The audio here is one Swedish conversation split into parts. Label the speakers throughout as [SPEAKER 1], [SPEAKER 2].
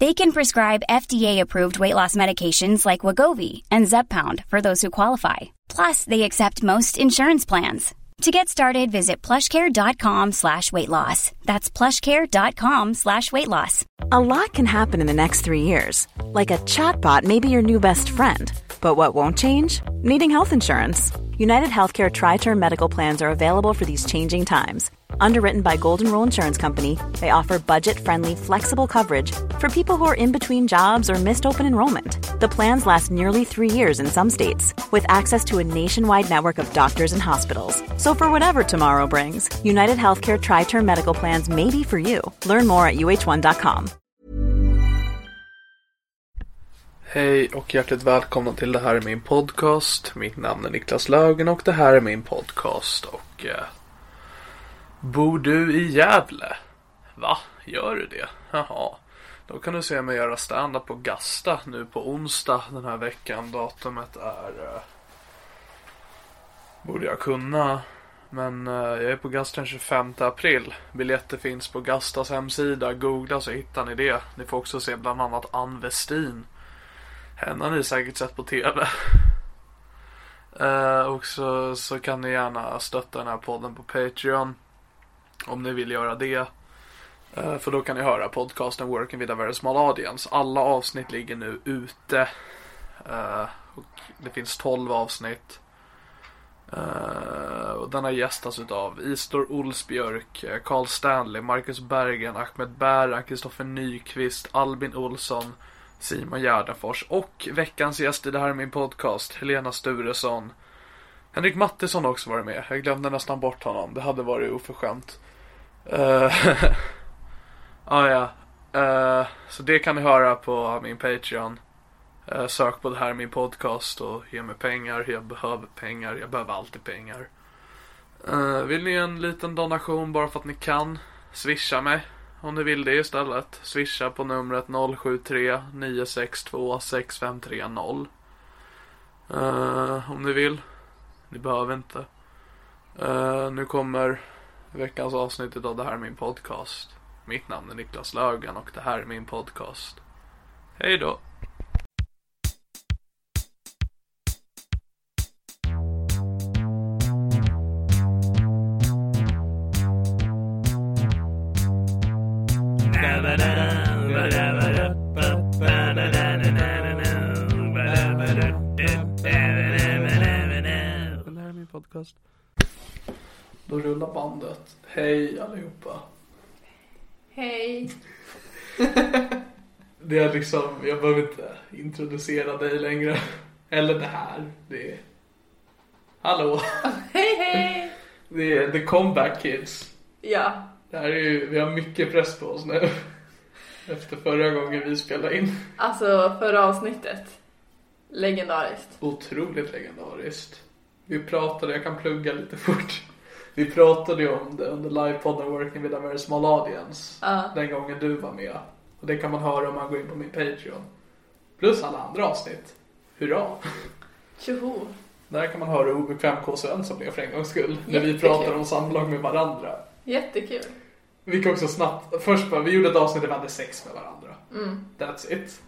[SPEAKER 1] They can prescribe FDA-approved weight loss medications like Wagovi and Zepbound for those who qualify. Plus, they accept most insurance plans. To get started, visit plushcare.com slash weight loss. That's plushcare.com slash weight loss.
[SPEAKER 2] A lot can happen in the next three years. Like a chatbot may be your new best friend. But what won't change? Needing health insurance. United Healthcare Tri Term Medical Plans are available for these changing times. Underwritten by Golden Rule Insurance Company, they offer budget friendly, flexible coverage for people who are in between jobs or missed open enrollment. The plans last nearly three years in some states, with access to a nationwide network of doctors and hospitals. So, for whatever tomorrow brings, United Healthcare Tri Term Medical Plans may be for you. Learn more at uh1.com.
[SPEAKER 3] Hej och hjärtligt välkomna till Det här är min podcast. Mitt namn är Niklas Lögen och det här är min podcast. Och eh, Bor du i Gävle? Va? Gör du det? Jaha. Då kan du se mig göra stand-up på Gasta nu på onsdag den här veckan. Datumet är... eh, Borde jag kunna. Men eh, jag är på Gasta den 25 april. Biljetter finns på Gastas hemsida. Googla så hittar ni det. Ni får också se bland annat Ann Westin. Henne har ni säkert sett på TV. Eh, och så, så kan ni gärna stötta den här podden på Patreon. Om ni vill göra det. Eh, För då kan ni höra podcasten Working with a very small audience. Alla avsnitt ligger nu ute. Eh, Och det finns 12 avsnitt. Eh, Och den har gästats utav Istor Olsbjörk, eh, Carl Stanley, Marcus Bergen, Ahmed Bära, Kristoffer Nyqvist, Albin Olsson, Simon Gärdenfors och veckans gäst i det här är min podcast, Helena Sturesson. Henrik Mattisson har också varit med. Jag glömde nästan bort honom. Det hade varit oförskämt. Eh, Ah, ja. Eh, så det kan ni höra på min Patreon. Eh, sök på det här min podcast och ge mig pengar. Jag behöver pengar. Jag behöver alltid pengar. Eh, vill ni ge en liten donation bara för att ni kan? Swisha mig. Om ni vill det istället. Swisha på numret 073 962 6530. Eh, om ni vill. Ni behöver inte. Eh, nu kommer veckans avsnitt av Det här är min podcast. Mitt namn är Niklas Lögen och det här är min podcast. Hej då! Det här är min podcast. Då rullar bandet. Hej allihopa.
[SPEAKER 4] Hej.
[SPEAKER 3] Det är liksom, jag behöver inte introducera dig längre. Eller det här. Det är... Hallå!
[SPEAKER 4] Hej hej.
[SPEAKER 3] Det är The Comeback Kids.
[SPEAKER 4] Ja.
[SPEAKER 3] Det här är ju, vi har mycket press på oss nu. Efter förra gången vi spelade in.
[SPEAKER 4] Alltså förra avsnittet. Legendariskt.
[SPEAKER 3] Otroligt legendariskt. Vi pratade, jag kan plugga lite fort. Vi pratade ju om det under livepodden Working with a very small audience.
[SPEAKER 4] Ja.
[SPEAKER 3] Den gången du var med. Och det kan man höra om man går in på min Patreon. Plus alla andra avsnitt. Hurra!
[SPEAKER 4] Tjoho.
[SPEAKER 3] Där kan man höra hur obekväm K. Svensson blev för en gångs skull. När vi
[SPEAKER 4] Jättekul.
[SPEAKER 3] pratar om samlag med varandra.
[SPEAKER 4] Jättekul.
[SPEAKER 3] Vi gick också snabbt, först bara, vi gjorde ett avsnitt där vi hade sex med varandra.
[SPEAKER 4] Mm.
[SPEAKER 3] That's it.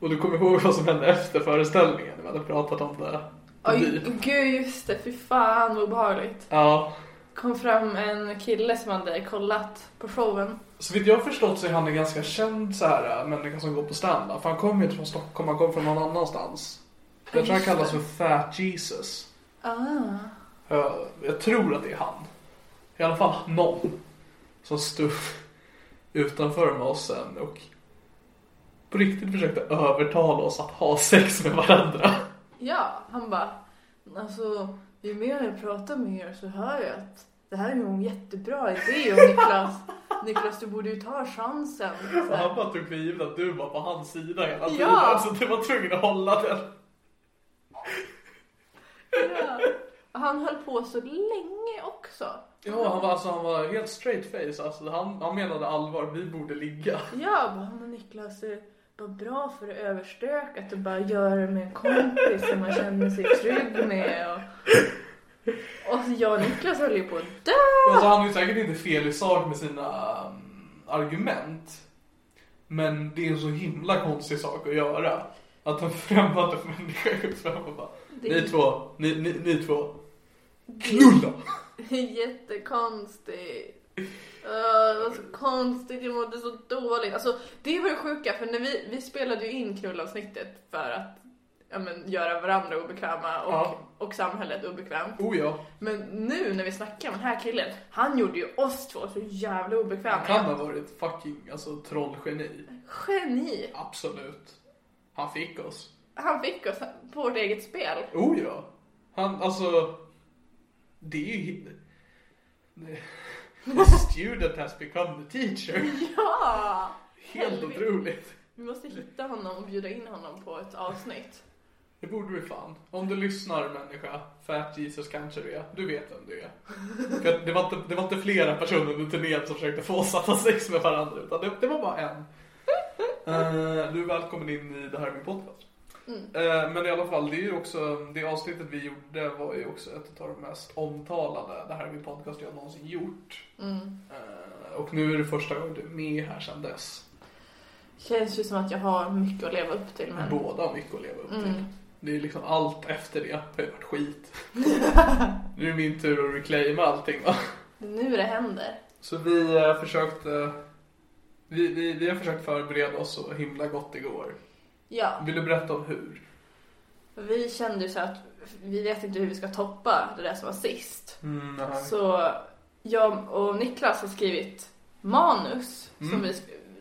[SPEAKER 3] Och du kommer ihåg vad som hände efter föreställningen? Vi hade pratat om det.
[SPEAKER 4] Oj,
[SPEAKER 3] Vi-
[SPEAKER 4] gud just det. Fy fan vad obehagligt.
[SPEAKER 3] Ja.
[SPEAKER 4] kom fram en kille som hade kollat på showen.
[SPEAKER 3] Så vitt jag har förstått så är han en äh, ganska känd så här, människa som går på stand För han kommer ju inte från Stockholm, han kommer från någon annanstans. Jag tror han kallas för Fat Jesus.
[SPEAKER 4] Ah.
[SPEAKER 3] Jag, jag tror att det är han. I alla fall någon. Som stod utanför med oss sen och på riktigt försökte övertala oss att ha sex med varandra.
[SPEAKER 4] Ja, han bara. Alltså, ju mer jag pratar med er så hör jag att det här är ju en jättebra idé och Niklas, Niklas du borde ju ta chansen. Så
[SPEAKER 3] Så
[SPEAKER 4] här.
[SPEAKER 3] han bara tog för givet att du var på hans sida hela tiden.
[SPEAKER 4] Ja.
[SPEAKER 3] Så du var tvungen att hålla den.
[SPEAKER 4] Ja. Och Han höll på så länge också.
[SPEAKER 3] Ja, han var, alltså, han var helt straight face. Alltså, han, han menade allvar. Vi borde ligga.
[SPEAKER 4] Jag bara, men Niklas, det var bra för överstökat att bara göra det med en kompis som man känner sig trygg med. Och, och så jag och Niklas höll ju på att dö.
[SPEAKER 3] Alltså, han har ju säkert inte fel i sak med sina mm, argument. Men det är en så himla konstig sak att göra. Att en främmande människa går fram och bara
[SPEAKER 4] Det-
[SPEAKER 3] Ni två, ni, ni, ni två, knulla!
[SPEAKER 4] Jättekonstigt. Uh, det var så konstigt, jag mådde så dåligt. Alltså, det var det sjuka, för när vi, vi spelade ju in knullavsnittet för att ja, men, göra varandra obekväma och,
[SPEAKER 3] Ja.
[SPEAKER 4] och samhället obekvämt.
[SPEAKER 3] Oh ja,
[SPEAKER 4] Men nu när vi snackar om den här killen, han gjorde ju oss två så jävla obekväma.
[SPEAKER 3] han kan ha varit fucking alltså, trollgeni.
[SPEAKER 4] Geni!
[SPEAKER 3] Absolut. Han fick oss.
[SPEAKER 4] Han fick oss på vårt eget spel.
[SPEAKER 3] Oh ja. Han, alltså. Det är ju... The student has become the teacher.
[SPEAKER 4] Ja!
[SPEAKER 3] Helt
[SPEAKER 4] Helvete.
[SPEAKER 3] otroligt.
[SPEAKER 4] Vi måste hitta honom och bjuda in honom på ett avsnitt.
[SPEAKER 3] Det borde vi fan. Om du lyssnar människa, Fat Jesus kanske du är. Du vet vem du är. För att det, var inte, det var inte flera personer under turnén som försökte få oss att ha sex med varandra. Utan det, det var bara en. Eh, du är välkommen in i det här med podcast. Eh, men i alla fall, det är ju också, det avsnittet vi gjorde var ju också ett av de mest omtalade det här med podcast jag någonsin gjort.
[SPEAKER 4] Mm.
[SPEAKER 3] Eh, och nu är det första gången du är med här sedan dess.
[SPEAKER 4] Känns ju som att jag har mycket att leva upp till men... Mm.
[SPEAKER 3] Båda har mycket att leva upp till. Det är liksom allt efter det har ju varit skit. nu är det min tur att reclaima allting va.
[SPEAKER 4] Det är nu det händer.
[SPEAKER 3] Så vi eh, försökte... Vi, vi, vi har försökt förbereda oss så himla gott igår.
[SPEAKER 4] Ja,
[SPEAKER 3] Vill du berätta om hur?
[SPEAKER 4] vi kände ju så att vi vet inte hur vi ska toppa det där som var sist.
[SPEAKER 3] nej.
[SPEAKER 4] Så jag och Niklas har skrivit manus. Som vi,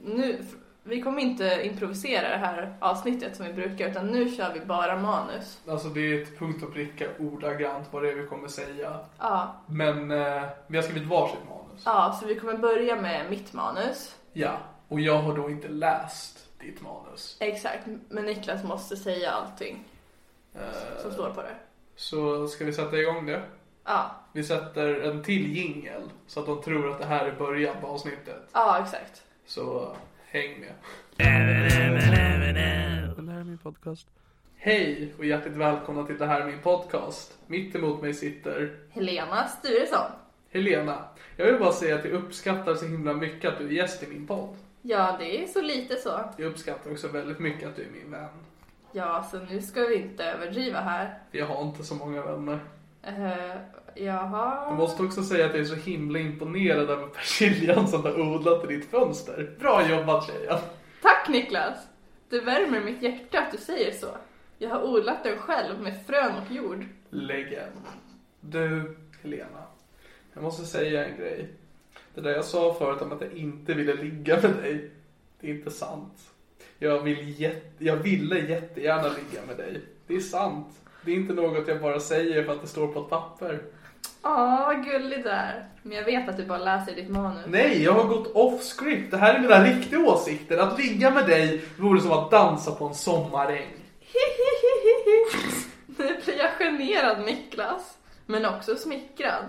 [SPEAKER 4] nu, vi kommer inte improvisera det här avsnittet som vi brukar utan nu kör vi bara manus.
[SPEAKER 3] Alltså det är ett punkt och pricka ordagrant vad det är vi kommer säga.
[SPEAKER 4] Ja,
[SPEAKER 3] Men eh, vi har skrivit varsitt manus.
[SPEAKER 4] Ja, så vi kommer börja med mitt manus.
[SPEAKER 3] Ja, och jag har då inte läst ditt manus.
[SPEAKER 4] Exakt, men Niklas måste säga allting som står på det.
[SPEAKER 3] Eh, Så ska vi sätta igång det?
[SPEAKER 4] Ja,
[SPEAKER 3] Vi sätter en till jingel så att de tror att det här är början på avsnittet.
[SPEAKER 4] ja exakt.
[SPEAKER 3] Så häng med. Det här är min podcast. Hej och hjärtligt välkomna till Det här är min podcast. Mitt emot mig sitter
[SPEAKER 4] Helena Sturesson.
[SPEAKER 3] Helena. Jag vill bara säga att jag uppskattar så himla mycket att du är gäst i min podd.
[SPEAKER 4] Ja, det är så lite så.
[SPEAKER 3] Jag uppskattar också väldigt mycket att du är min vän.
[SPEAKER 4] Ja, så nu ska vi inte överdriva här.
[SPEAKER 3] För jag har inte så många vänner.
[SPEAKER 4] Uh,
[SPEAKER 3] Jag
[SPEAKER 4] jaha.
[SPEAKER 3] måste också säga att jag är så himla imponerad över persiljan som du har odlat i ditt fönster. Bra jobbat tjejen!
[SPEAKER 4] Tack Niklas! Det värmer mitt hjärta att du säger så. Jag har odlat den själv med frön och jord.
[SPEAKER 3] Legend. Du, Helena. Jag måste säga en grej. Det där jag sa förut om att jag inte ville ligga med dig. Det är inte sant. Jag, vill jätte, jag ville jättegärna ligga med dig. Det är sant. Det är inte något jag bara säger för att det står på ett papper.
[SPEAKER 4] Åh, vad gullig du är. Men jag vet att du bara läser ditt manus.
[SPEAKER 3] Nej, jag har gått off script. Det här är mina riktiga åsikter. Att ligga med dig vore som att dansa på en sommaräng.
[SPEAKER 4] Nu blir jag generad Niklas, men också smickrad.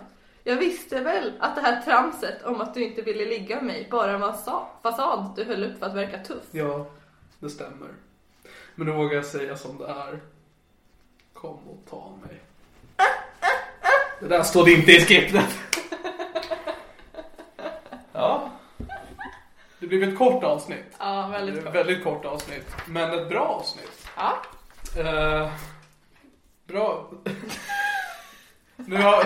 [SPEAKER 4] Jag visste väl att det här tramset om att du inte ville ligga med mig bara var en sa- fasad du höll upp för att verka tuff.
[SPEAKER 3] Ja, det stämmer. Men då vågar jag säga som det är. Kom och ta mig. Det där står det inte i skriptet. Ja. Det blev ett kort avsnitt.
[SPEAKER 4] Ja,
[SPEAKER 3] Det
[SPEAKER 4] väldigt
[SPEAKER 3] blev
[SPEAKER 4] kort.
[SPEAKER 3] ett väldigt kort avsnitt. Men ett bra avsnitt.
[SPEAKER 4] Ja.
[SPEAKER 3] Eh, bra. nu har...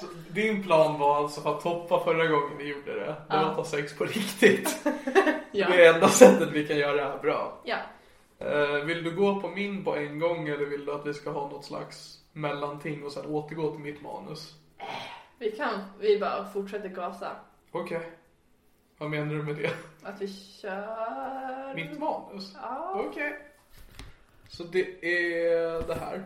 [SPEAKER 3] Så Din plan var alltså för att toppa förra gången vi gjorde det. Det var att ha sex på riktigt. Det
[SPEAKER 4] Ja.
[SPEAKER 3] är enda sättet vi kan göra det här bra.
[SPEAKER 4] ja.
[SPEAKER 3] Eh, vill du gå på min på en gång eller vill du att vi ska ha något slags mellanting och sen återgå till mitt manus?
[SPEAKER 4] Vi kan, vi bara fortsätter gasa.
[SPEAKER 3] Okej. Vad menar du med det?
[SPEAKER 4] Att vi kör...
[SPEAKER 3] Mitt manus?
[SPEAKER 4] Ja.
[SPEAKER 3] Okej. Så det är det här.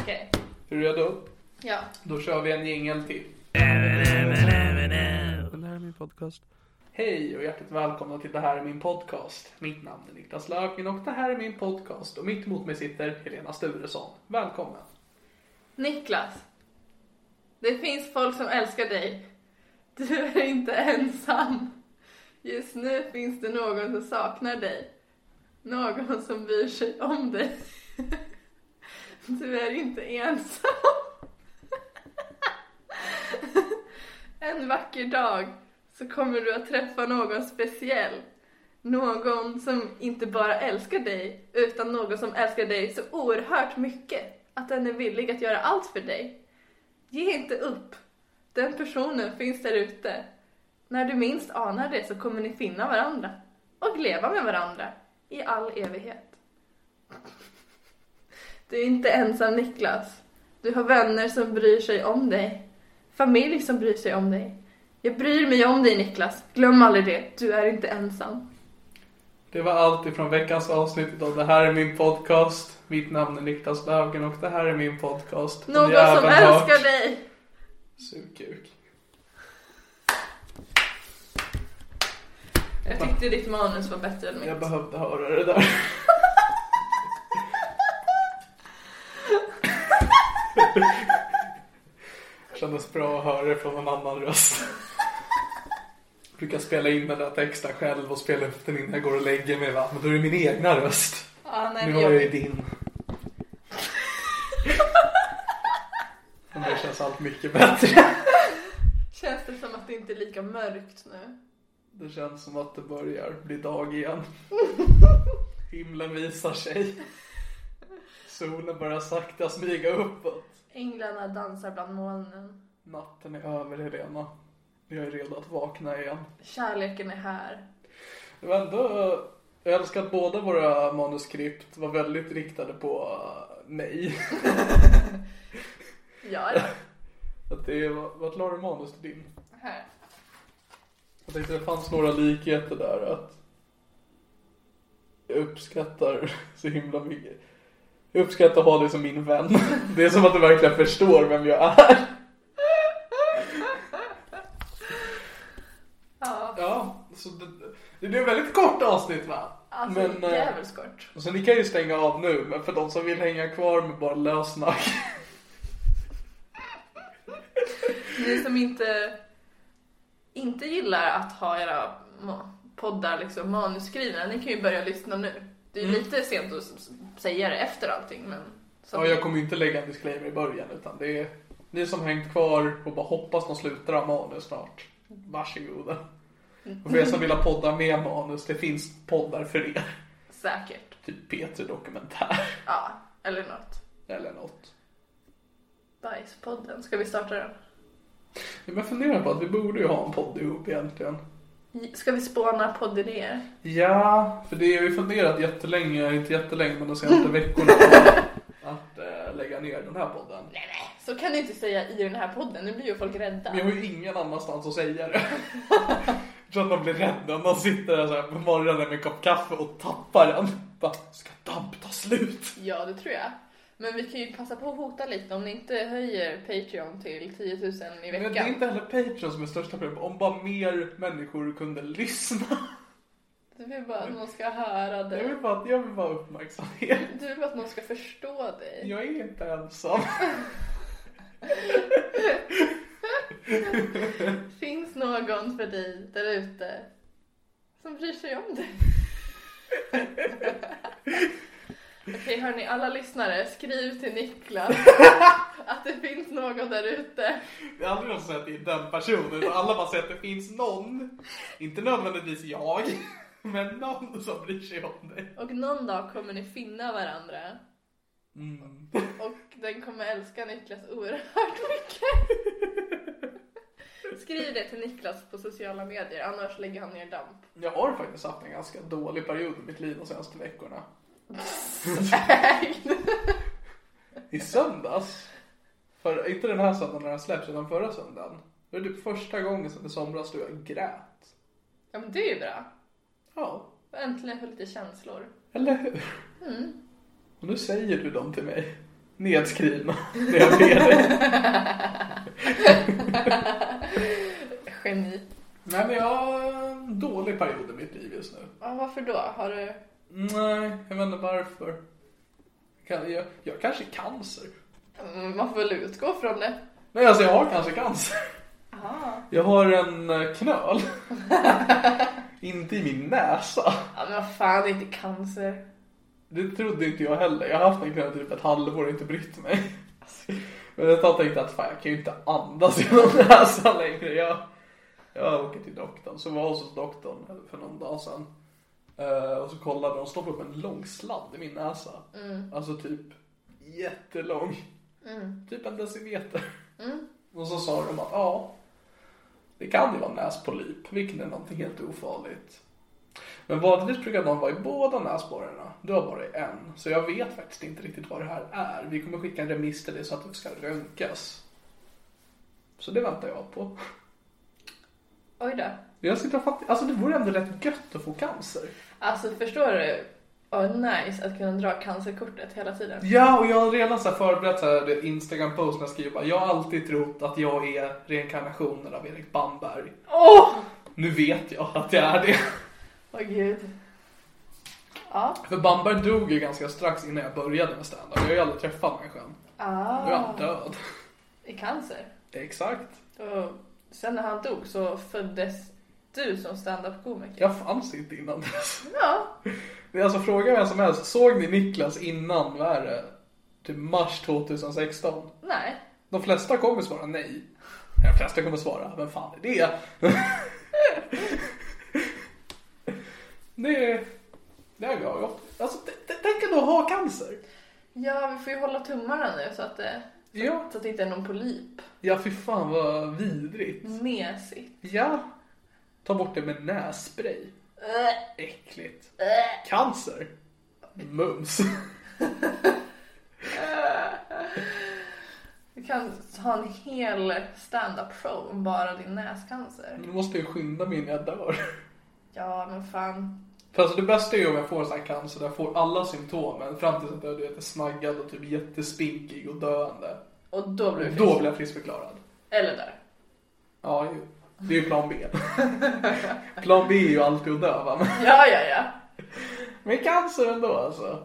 [SPEAKER 4] Okej.
[SPEAKER 3] Är du redo?
[SPEAKER 4] Ja.
[SPEAKER 3] Då kör vi en jingel till. Det här är min podcast. Hej och hjärtligt välkomna till Det här är min podcast. Mitt namn är Niklas Löfgren och det här är min podcast. Och mitt emot mig sitter Helena Sturesson. Välkommen.
[SPEAKER 4] Niklas. Det finns folk som älskar dig. Du är inte ensam. Just nu finns det någon som saknar dig. Någon som bryr sig om dig. Du är inte ensam. En vacker dag så kommer du att träffa någon speciell. Någon som inte bara älskar dig, utan någon som älskar dig så oerhört mycket att den är villig att göra allt för dig. Ge inte upp. Den personen finns där ute. När du minst anar det så kommer ni finna varandra och leva med varandra i all evighet. Du är inte ensam Niklas. Du har vänner som bryr sig om dig. Familj som bryr sig om dig. Jag bryr mig om dig Niklas. Glöm aldrig det. Du är inte ensam.
[SPEAKER 3] Det var allt ifrån veckans avsnitt av Det här är min podcast. Mitt namn är Niklas Löfgren och det här är min podcast.
[SPEAKER 4] Någon som älskar dig.
[SPEAKER 3] Sugkuk.
[SPEAKER 4] Jag tyckte ditt manus var bättre än
[SPEAKER 3] Jag
[SPEAKER 4] mitt.
[SPEAKER 3] behövde höra det där. Kändes bra att höra det från en annan röst. Brukar spela in den där texten själv och spela upp den innan jag går och lägger mig va. Men då är det min egna röst.
[SPEAKER 4] Ah, nej,
[SPEAKER 3] Nu
[SPEAKER 4] men
[SPEAKER 3] har jag
[SPEAKER 4] jag...
[SPEAKER 3] ju din. Men det känns allt mycket bättre.
[SPEAKER 4] Känns det som att det inte är lika mörkt nu?
[SPEAKER 3] Det känns som att det börjar bli dag igen. Himlen visar sig. Solen börjar sakta smyga uppåt.
[SPEAKER 4] Änglarna dansar bland molnen.
[SPEAKER 3] Natten är över Helena. Jag är redo att vakna igen.
[SPEAKER 4] Kärleken är här.
[SPEAKER 3] Det var ändå... Jag älskar att båda våra manuskript var väldigt riktade på eh, mig.
[SPEAKER 4] Ja, ja.
[SPEAKER 3] Att det var... Vart la du manus till din?
[SPEAKER 4] Här.
[SPEAKER 3] Jag tänkte det fanns några likheter där att jag uppskattar så himla mycket. Jag uppskattar att ha dig som min vän. Det är som att du verkligen förstår vem jag är.
[SPEAKER 4] Ja,
[SPEAKER 3] Ja, så det, det blir ett väldigt kort avsnitt va?
[SPEAKER 4] alltså
[SPEAKER 3] Men, eh,
[SPEAKER 4] jävligt kort.
[SPEAKER 3] Så ni kan ju stänga av nu, men för de som vill hänga kvar med bara lössnack.
[SPEAKER 4] Ni som inte, inte gillar att ha era ma- poddar liksom manusskrivna, ni kan ju börja lyssna nu. Det är
[SPEAKER 3] Mm.
[SPEAKER 4] ju lite sent att s- s- säga det efter allting, men... så-
[SPEAKER 3] Ja, jag kommer ju inte lägga en disclaimer i början utan det är ni som hängt kvar och bara hoppas de slutar ha manus snart. Varsågoda. Och för er som vill ha poddar med manus, det finns poddar för er.
[SPEAKER 4] Säkert.
[SPEAKER 3] Typ Peter Dokumentär
[SPEAKER 4] Ja, eller något.
[SPEAKER 3] eller något.
[SPEAKER 4] Bajspodden, ska vi starta den?
[SPEAKER 3] Ja, men jag funderar på att vi borde ju ha en podd ihop egentligen.
[SPEAKER 4] Ska vi spåna poddidéer?
[SPEAKER 3] Ja, för det har ju funderat jättelänge, inte jättelänge men de senaste veckorna på att eh, lägga ner den här podden.
[SPEAKER 4] Så kan du inte säga i den här podden, nu blir ju folk rädda.
[SPEAKER 3] Men jag har ju ingen annanstans att säga det. Jag tror att de blir rädda. Man sitter där så här på morgonen med en kopp kaffe och tappar den. Bara, ska damp ta slut?
[SPEAKER 4] Ja, det tror jag. Men vi kan ju passa på att hota lite om ni inte höjer Patreon till 10 000 i
[SPEAKER 3] Men det är
[SPEAKER 4] veckan.
[SPEAKER 3] inte heller Patreon som är största problemet. Om bara mer människor kunde lyssna.
[SPEAKER 4] Du vill bara att någon ska höra
[SPEAKER 3] Jag
[SPEAKER 4] dig.
[SPEAKER 3] vill bara, jag vill bara ha uppmärksamhet.
[SPEAKER 4] Du vill bara att någon ska förstå dig.
[SPEAKER 3] Jag är inte ensam.
[SPEAKER 4] Finns någon för dig där ute som bryr sig om dig? Okej hörni, alla lyssnare, skriv till Niklas att det finns någon där ute.
[SPEAKER 3] Det är aldrig någon som säger att det är den personen. utan Alla bara säger att det finns någon. Inte nödvändigtvis jag. Men någon som bryr sig om dig.
[SPEAKER 4] Och någon dag kommer ni finna varandra.
[SPEAKER 3] Mm.
[SPEAKER 4] Och den kommer älska Niklas oerhört mycket. Skriv det till Niklas på sociala medier, annars lägger han ner damp.
[SPEAKER 3] Jag har faktiskt haft en ganska dålig period i mitt liv de senaste veckorna. I söndags, för, inte den här söndagen när den släpps utan förra söndagen. Det var typ första gången sedan i somras då jag grät.
[SPEAKER 4] ja men det är ju bra.
[SPEAKER 3] Ja,
[SPEAKER 4] Äntligen få lite känslor.
[SPEAKER 3] eller hur? Och nu säger du dem till mig. Nedskrivna, när jag ber dig.
[SPEAKER 4] Geni.
[SPEAKER 3] Nej men jag har en dålig period i mitt liv just nu.
[SPEAKER 4] Ja, varför då? Har du...
[SPEAKER 3] Nej, jag vet inte varför. Kan- Jag, jag kanske är cancer.
[SPEAKER 4] Mm, Man får väl utgå från det.
[SPEAKER 3] Nej, alltså jag har kanske cancer. Jag har en eh, knöl. inte i min näsa.
[SPEAKER 4] Ja, men vad fan, det är inte cancer.
[SPEAKER 3] Det trodde inte jag heller. Jag har haft en knöl typ ett halvår och inte brytt mig. Men ett tag tänkte jag att fan, jag kan ju inte andas genom näsan längre. Jag, jag åker till doktorn. Så var jag hos doktorn för någon dag sedan. Eh, och så kollade de och stoppade upp en lång sladd i min näsa. Alltså typ jättelång. Typ en decimeter. Och så sa de att ja, det kan ju vara näspolyp, vilket är någonting helt ofarligt. Men vanligtvis brukar de vara i båda näsborrarna. Du har bara i en. Så jag vet faktiskt inte riktigt vad det här är. Vi kommer skicka en remiss till dig så att det ska röntgas. Så det väntar jag på.
[SPEAKER 4] Oj då.
[SPEAKER 3] Jag sitter och fattar, alltså det vore ändå rätt gött att få cancer.
[SPEAKER 4] Alltså, förstår du? Oh, nice att kunna dra cancerkortet hela tiden.
[SPEAKER 3] Ja, och jag har redan så här förberett så här Instagram-post när jag skriver bara, jag har alltid trott att jag är reinkarnationen av Erik Bamberg.
[SPEAKER 4] Åh!
[SPEAKER 3] Nu vet jag att jag är det.
[SPEAKER 4] Åh gud. Ja.
[SPEAKER 3] För Bamberg dog ju ganska strax innan jag började med stand-up. Jag har ju aldrig träffat människan. Nu är han
[SPEAKER 4] Ah,
[SPEAKER 3] död.
[SPEAKER 4] I cancer.
[SPEAKER 3] Exakt.
[SPEAKER 4] Och sen när han dog så föddes du som standup-komiker.
[SPEAKER 3] Jag fanns inte innan dess.
[SPEAKER 4] Ja.
[SPEAKER 3] Det är alltså fråga vem som helst. Såg ni Niklas innan, vad är det? Typ mars 2016?
[SPEAKER 4] Nej.
[SPEAKER 3] De flesta kommer svara nej. De flesta kommer svara, vem fan är det? det är... Det är jag. Alltså, t- t- tänk ändå att ha cancer.
[SPEAKER 4] Ja, vi får ju hålla tummarna nu så att det,
[SPEAKER 3] Ja.
[SPEAKER 4] så att det inte är någon polyp.
[SPEAKER 3] Ja, fy fan vad vidrigt.
[SPEAKER 4] Mesigt.
[SPEAKER 3] Ja. Ta bort det med nässpray. Äckligt. Cancer. Mums.
[SPEAKER 4] Du kan ha en hel stand-up show om bara din näscancer.
[SPEAKER 3] Nu måste jag skynda mig innan jag dör.
[SPEAKER 4] Ja, men fan.
[SPEAKER 3] För alltså det bästa är ju om jag får sån här cancer där jag får alla symptomen fram tills att jag är snaggad och typ jättespinkig och döende.
[SPEAKER 4] Och då blir du frisk.
[SPEAKER 3] Då blir jag friskförklarad.
[SPEAKER 4] Eller där.
[SPEAKER 3] Ja, ju. det är ju plan B. plan B är ju alltid att dö va? Men-
[SPEAKER 4] Ja, ja, ja.
[SPEAKER 3] Men cancer ändå alltså.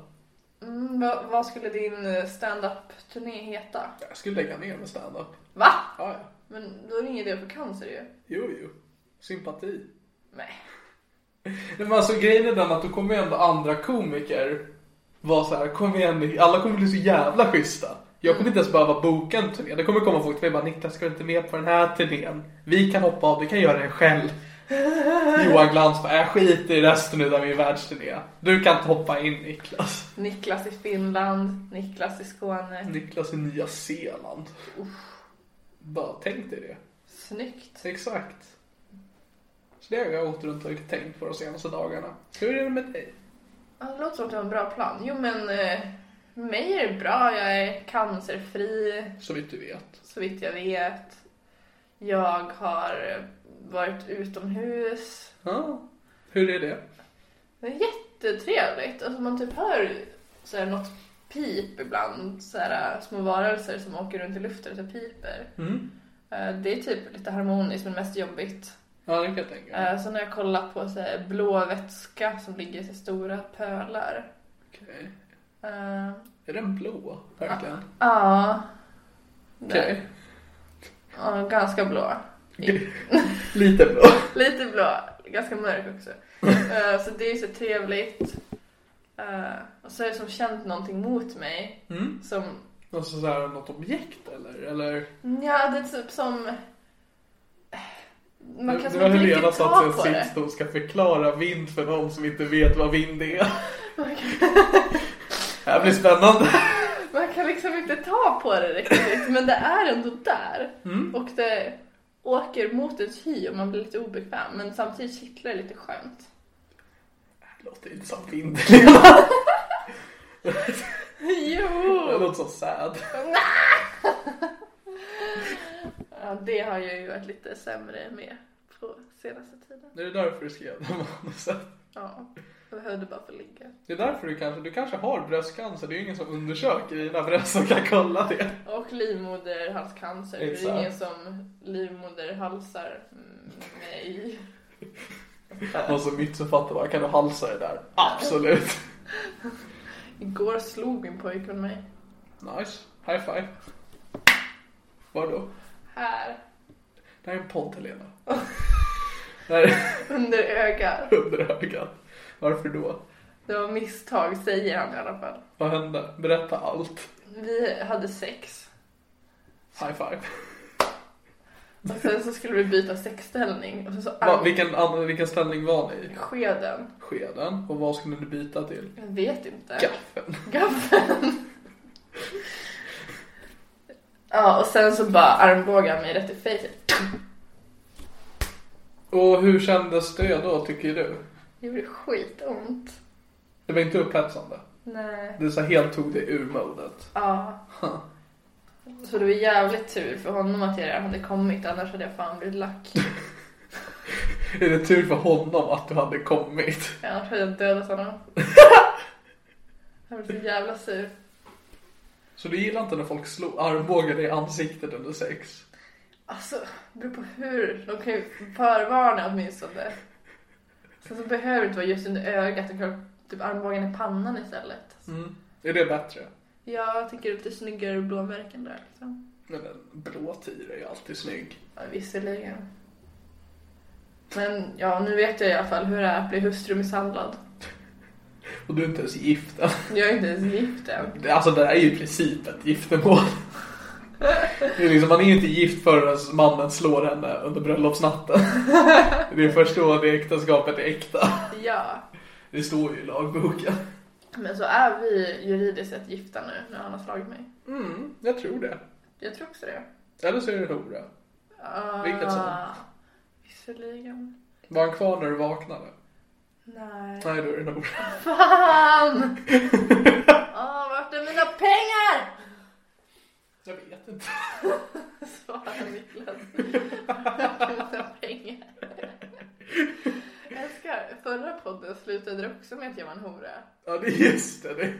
[SPEAKER 4] Mm, vad, vad skulle din eh, stand-up-turné heta?
[SPEAKER 3] Jag skulle lägga ner med standup.
[SPEAKER 4] Va?
[SPEAKER 3] Ja, ja.
[SPEAKER 4] Men då är det ingen idé för cancer ju.
[SPEAKER 3] Jo, jo. Sympati.
[SPEAKER 4] Nej.
[SPEAKER 3] Nej, men alltså grejen är den att då kommer ju ändå andra komiker vara så här, kom igen, alla kommer bli så jävla schyssta. Jag kommer inte ens behöva boka en turné. Det kommer komma folk till mig och bara, Niklas ska du inte med på den här turnén? Vi kan hoppa av, du kan göra det själv. Johan Glans bara, jag skiter i resten av min världsturné. Du kan inte hoppa in Niklas.
[SPEAKER 4] Niklas i Finland, Niklas i Skåne.
[SPEAKER 3] Niklas i Nya Zeeland. Bara tänk dig det.
[SPEAKER 4] Snyggt.
[SPEAKER 3] Exakt. Så det har jag gått runt och tänkt på de senaste dagarna. Hur är det med dig?
[SPEAKER 4] Ja, det låter som att du har en bra plan. Jo, men eh, mig är det bra. Jag är cancerfri,
[SPEAKER 3] Så vitt du vet.
[SPEAKER 4] så vitt jag vet. Jag har eh, varit utomhus.
[SPEAKER 3] Ja, hur är det?
[SPEAKER 4] Det är jättetrevligt. Alltså man typ hör så här, något pip ibland. Så här, eh, små varelser som åker runt i luften och så piper.
[SPEAKER 3] Mm.
[SPEAKER 4] Eh, Det är typ lite harmoniskt men mest jobbigt.
[SPEAKER 3] Ja, det kan jag tänka mig.
[SPEAKER 4] Eh, Så när jag kollar på så här, blå vätska som ligger i så stora pölar.
[SPEAKER 3] Okej.
[SPEAKER 4] Eh,
[SPEAKER 3] Är den blå? Verkligen?
[SPEAKER 4] Ah, Ja,
[SPEAKER 3] Okej.
[SPEAKER 4] ja, ganska blå.
[SPEAKER 3] Lite blå.
[SPEAKER 4] Lite blå, ganska mörk också. Eh, så det är så trevligt. Eh, och så är det som känt någonting mot mig.
[SPEAKER 3] Mm.
[SPEAKER 4] Som,
[SPEAKER 3] Alltså så här, något objekt eller? eller...
[SPEAKER 4] ja det är typ som... eh, Man kan som
[SPEAKER 3] det var
[SPEAKER 4] inte
[SPEAKER 3] Helena satt
[SPEAKER 4] riktigt
[SPEAKER 3] sig
[SPEAKER 4] ta
[SPEAKER 3] och
[SPEAKER 4] på det.
[SPEAKER 3] sist och ska förklara vind för någon som inte vet vad vind är. det här blir spännande.
[SPEAKER 4] Man kan liksom inte ta på det riktigt. Men det är ändå där. Och det, åker mot ens hy och man blir lite obekväm men samtidigt kittlar det lite skönt.
[SPEAKER 3] Det låter inte som Vindeln. Det
[SPEAKER 4] Jo!
[SPEAKER 3] låter så sad.
[SPEAKER 4] Ja, det har jag ju varit lite sämre med på senaste tiden.
[SPEAKER 3] Det är därför du skrev den manuset.
[SPEAKER 4] Ja, jag behövde bara få ligga.
[SPEAKER 3] Det är därför du kanske, du kanske har bröstcancer. Det är ju ingen som undersöker dina bröst som kan kolla det.
[SPEAKER 4] Och livmoderhalscancer. för Det
[SPEAKER 3] Exakt.
[SPEAKER 4] är ingen som livmoderhalsar mm, mig.
[SPEAKER 3] Och så mitt författare bara, kan du halsa det där? Absolut.
[SPEAKER 4] Igår slog min pojkvän mig.
[SPEAKER 3] Nice. High five. Vadå?
[SPEAKER 4] Här.
[SPEAKER 3] Det här är en podd Helena. Det här är
[SPEAKER 4] Under ögat.
[SPEAKER 3] under ögat. Varför då?
[SPEAKER 4] Det var misstag säger han i alla fall.
[SPEAKER 3] Vad hände? Berätta allt.
[SPEAKER 4] Vi hade sex.
[SPEAKER 3] High five.
[SPEAKER 4] Och sen så skulle vi byta sexställning. Och så, så
[SPEAKER 3] Va, vilken, an- vilken ställning var ni i?
[SPEAKER 4] Skeden.
[SPEAKER 3] Skeden. Och vad skulle ni byta till?
[SPEAKER 4] Jag vet inte.
[SPEAKER 3] Gaffeln.
[SPEAKER 4] Gaffeln. ja, och sen så bara armbågar han mig rätt i fejset.
[SPEAKER 3] Och hur kändes det då tycker du?
[SPEAKER 4] Det gjorde skitont.
[SPEAKER 3] Det var inte upphetsande.
[SPEAKER 4] Nej.
[SPEAKER 3] Det så här helt tog det ur modet.
[SPEAKER 4] Ja. Så det var jävligt tur för honom att jag redan hade kommit, annars hade jag fan blivit lack.
[SPEAKER 3] Är det tur för honom att du hade kommit?
[SPEAKER 4] Annars hade jag dödat honom. Jag blev så jävla sur.
[SPEAKER 3] Så du gillar inte när folk slår armbågar dig i ansiktet under sex?
[SPEAKER 4] Alltså, det beror på hur. De kan ju förvarna åtminstone. Sen så behöver det inte vara just under ögat, de kan ha typ armbågen i pannan istället.
[SPEAKER 3] Mm. Är det bättre?
[SPEAKER 4] Jag tycker det är lite snyggare blåmärken där liksom.
[SPEAKER 3] Men en blå tira är ju alltid snygg.
[SPEAKER 4] Ja, visserligen. Men ja, nu vet jag i alla fall hur det är att bli hustrumisshandlad.
[SPEAKER 3] Och du är inte ens gift än.
[SPEAKER 4] Jag är inte ens gift än.
[SPEAKER 3] Alltså det här är ju i princip ett giftermål. Det är liksom, man är ju inte gift förrän mannen slår henne under bröllopsnatten. Det är först då det äktenskapet är äkta.
[SPEAKER 4] Ja.
[SPEAKER 3] Det står ju i lagboken.
[SPEAKER 4] Men så är vi juridiskt sett gifta nu när han har slagit mig.
[SPEAKER 3] Mm, jag tror det.
[SPEAKER 4] Jag tror också det.
[SPEAKER 3] Eller så är det hora.
[SPEAKER 4] Ah,
[SPEAKER 3] Vilket som.
[SPEAKER 4] Visserligen.
[SPEAKER 3] Var han kvar när du vaknade?
[SPEAKER 4] Nej.
[SPEAKER 3] Nej, då är det en hora.
[SPEAKER 4] Fan! Ah, vart är mina pengar?
[SPEAKER 3] Jag vet inte.
[SPEAKER 4] Svarar Niklas. Vart är mina pengar? Jag älskar, förra podden slutade det också med att jag var en hora.
[SPEAKER 3] Ja, det är just det. det.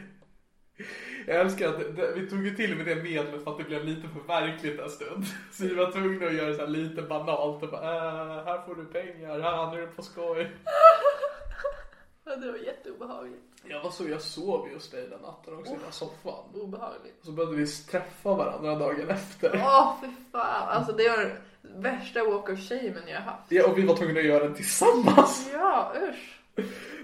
[SPEAKER 3] Jag älskar att det, det, vi tog ju till med det medlet för att det blev lite för verkligt en stund. Så vi var tvungna att göra så här lite banalt och bara äh, här får du pengar, här, nu är det på skoj.
[SPEAKER 4] Ja, Det var jätteobehagligt.
[SPEAKER 3] Jag var så, jag sov just dig den natten också i den här soffan.
[SPEAKER 4] Obehagligt.
[SPEAKER 3] Så började vi träffa varandra dagen efter.
[SPEAKER 4] Åh, fy fan. Alltså det var den värsta walk of shamen jag har haft.
[SPEAKER 3] Ja, och vi var tvungna att göra den tillsammans.
[SPEAKER 4] Ja, usch.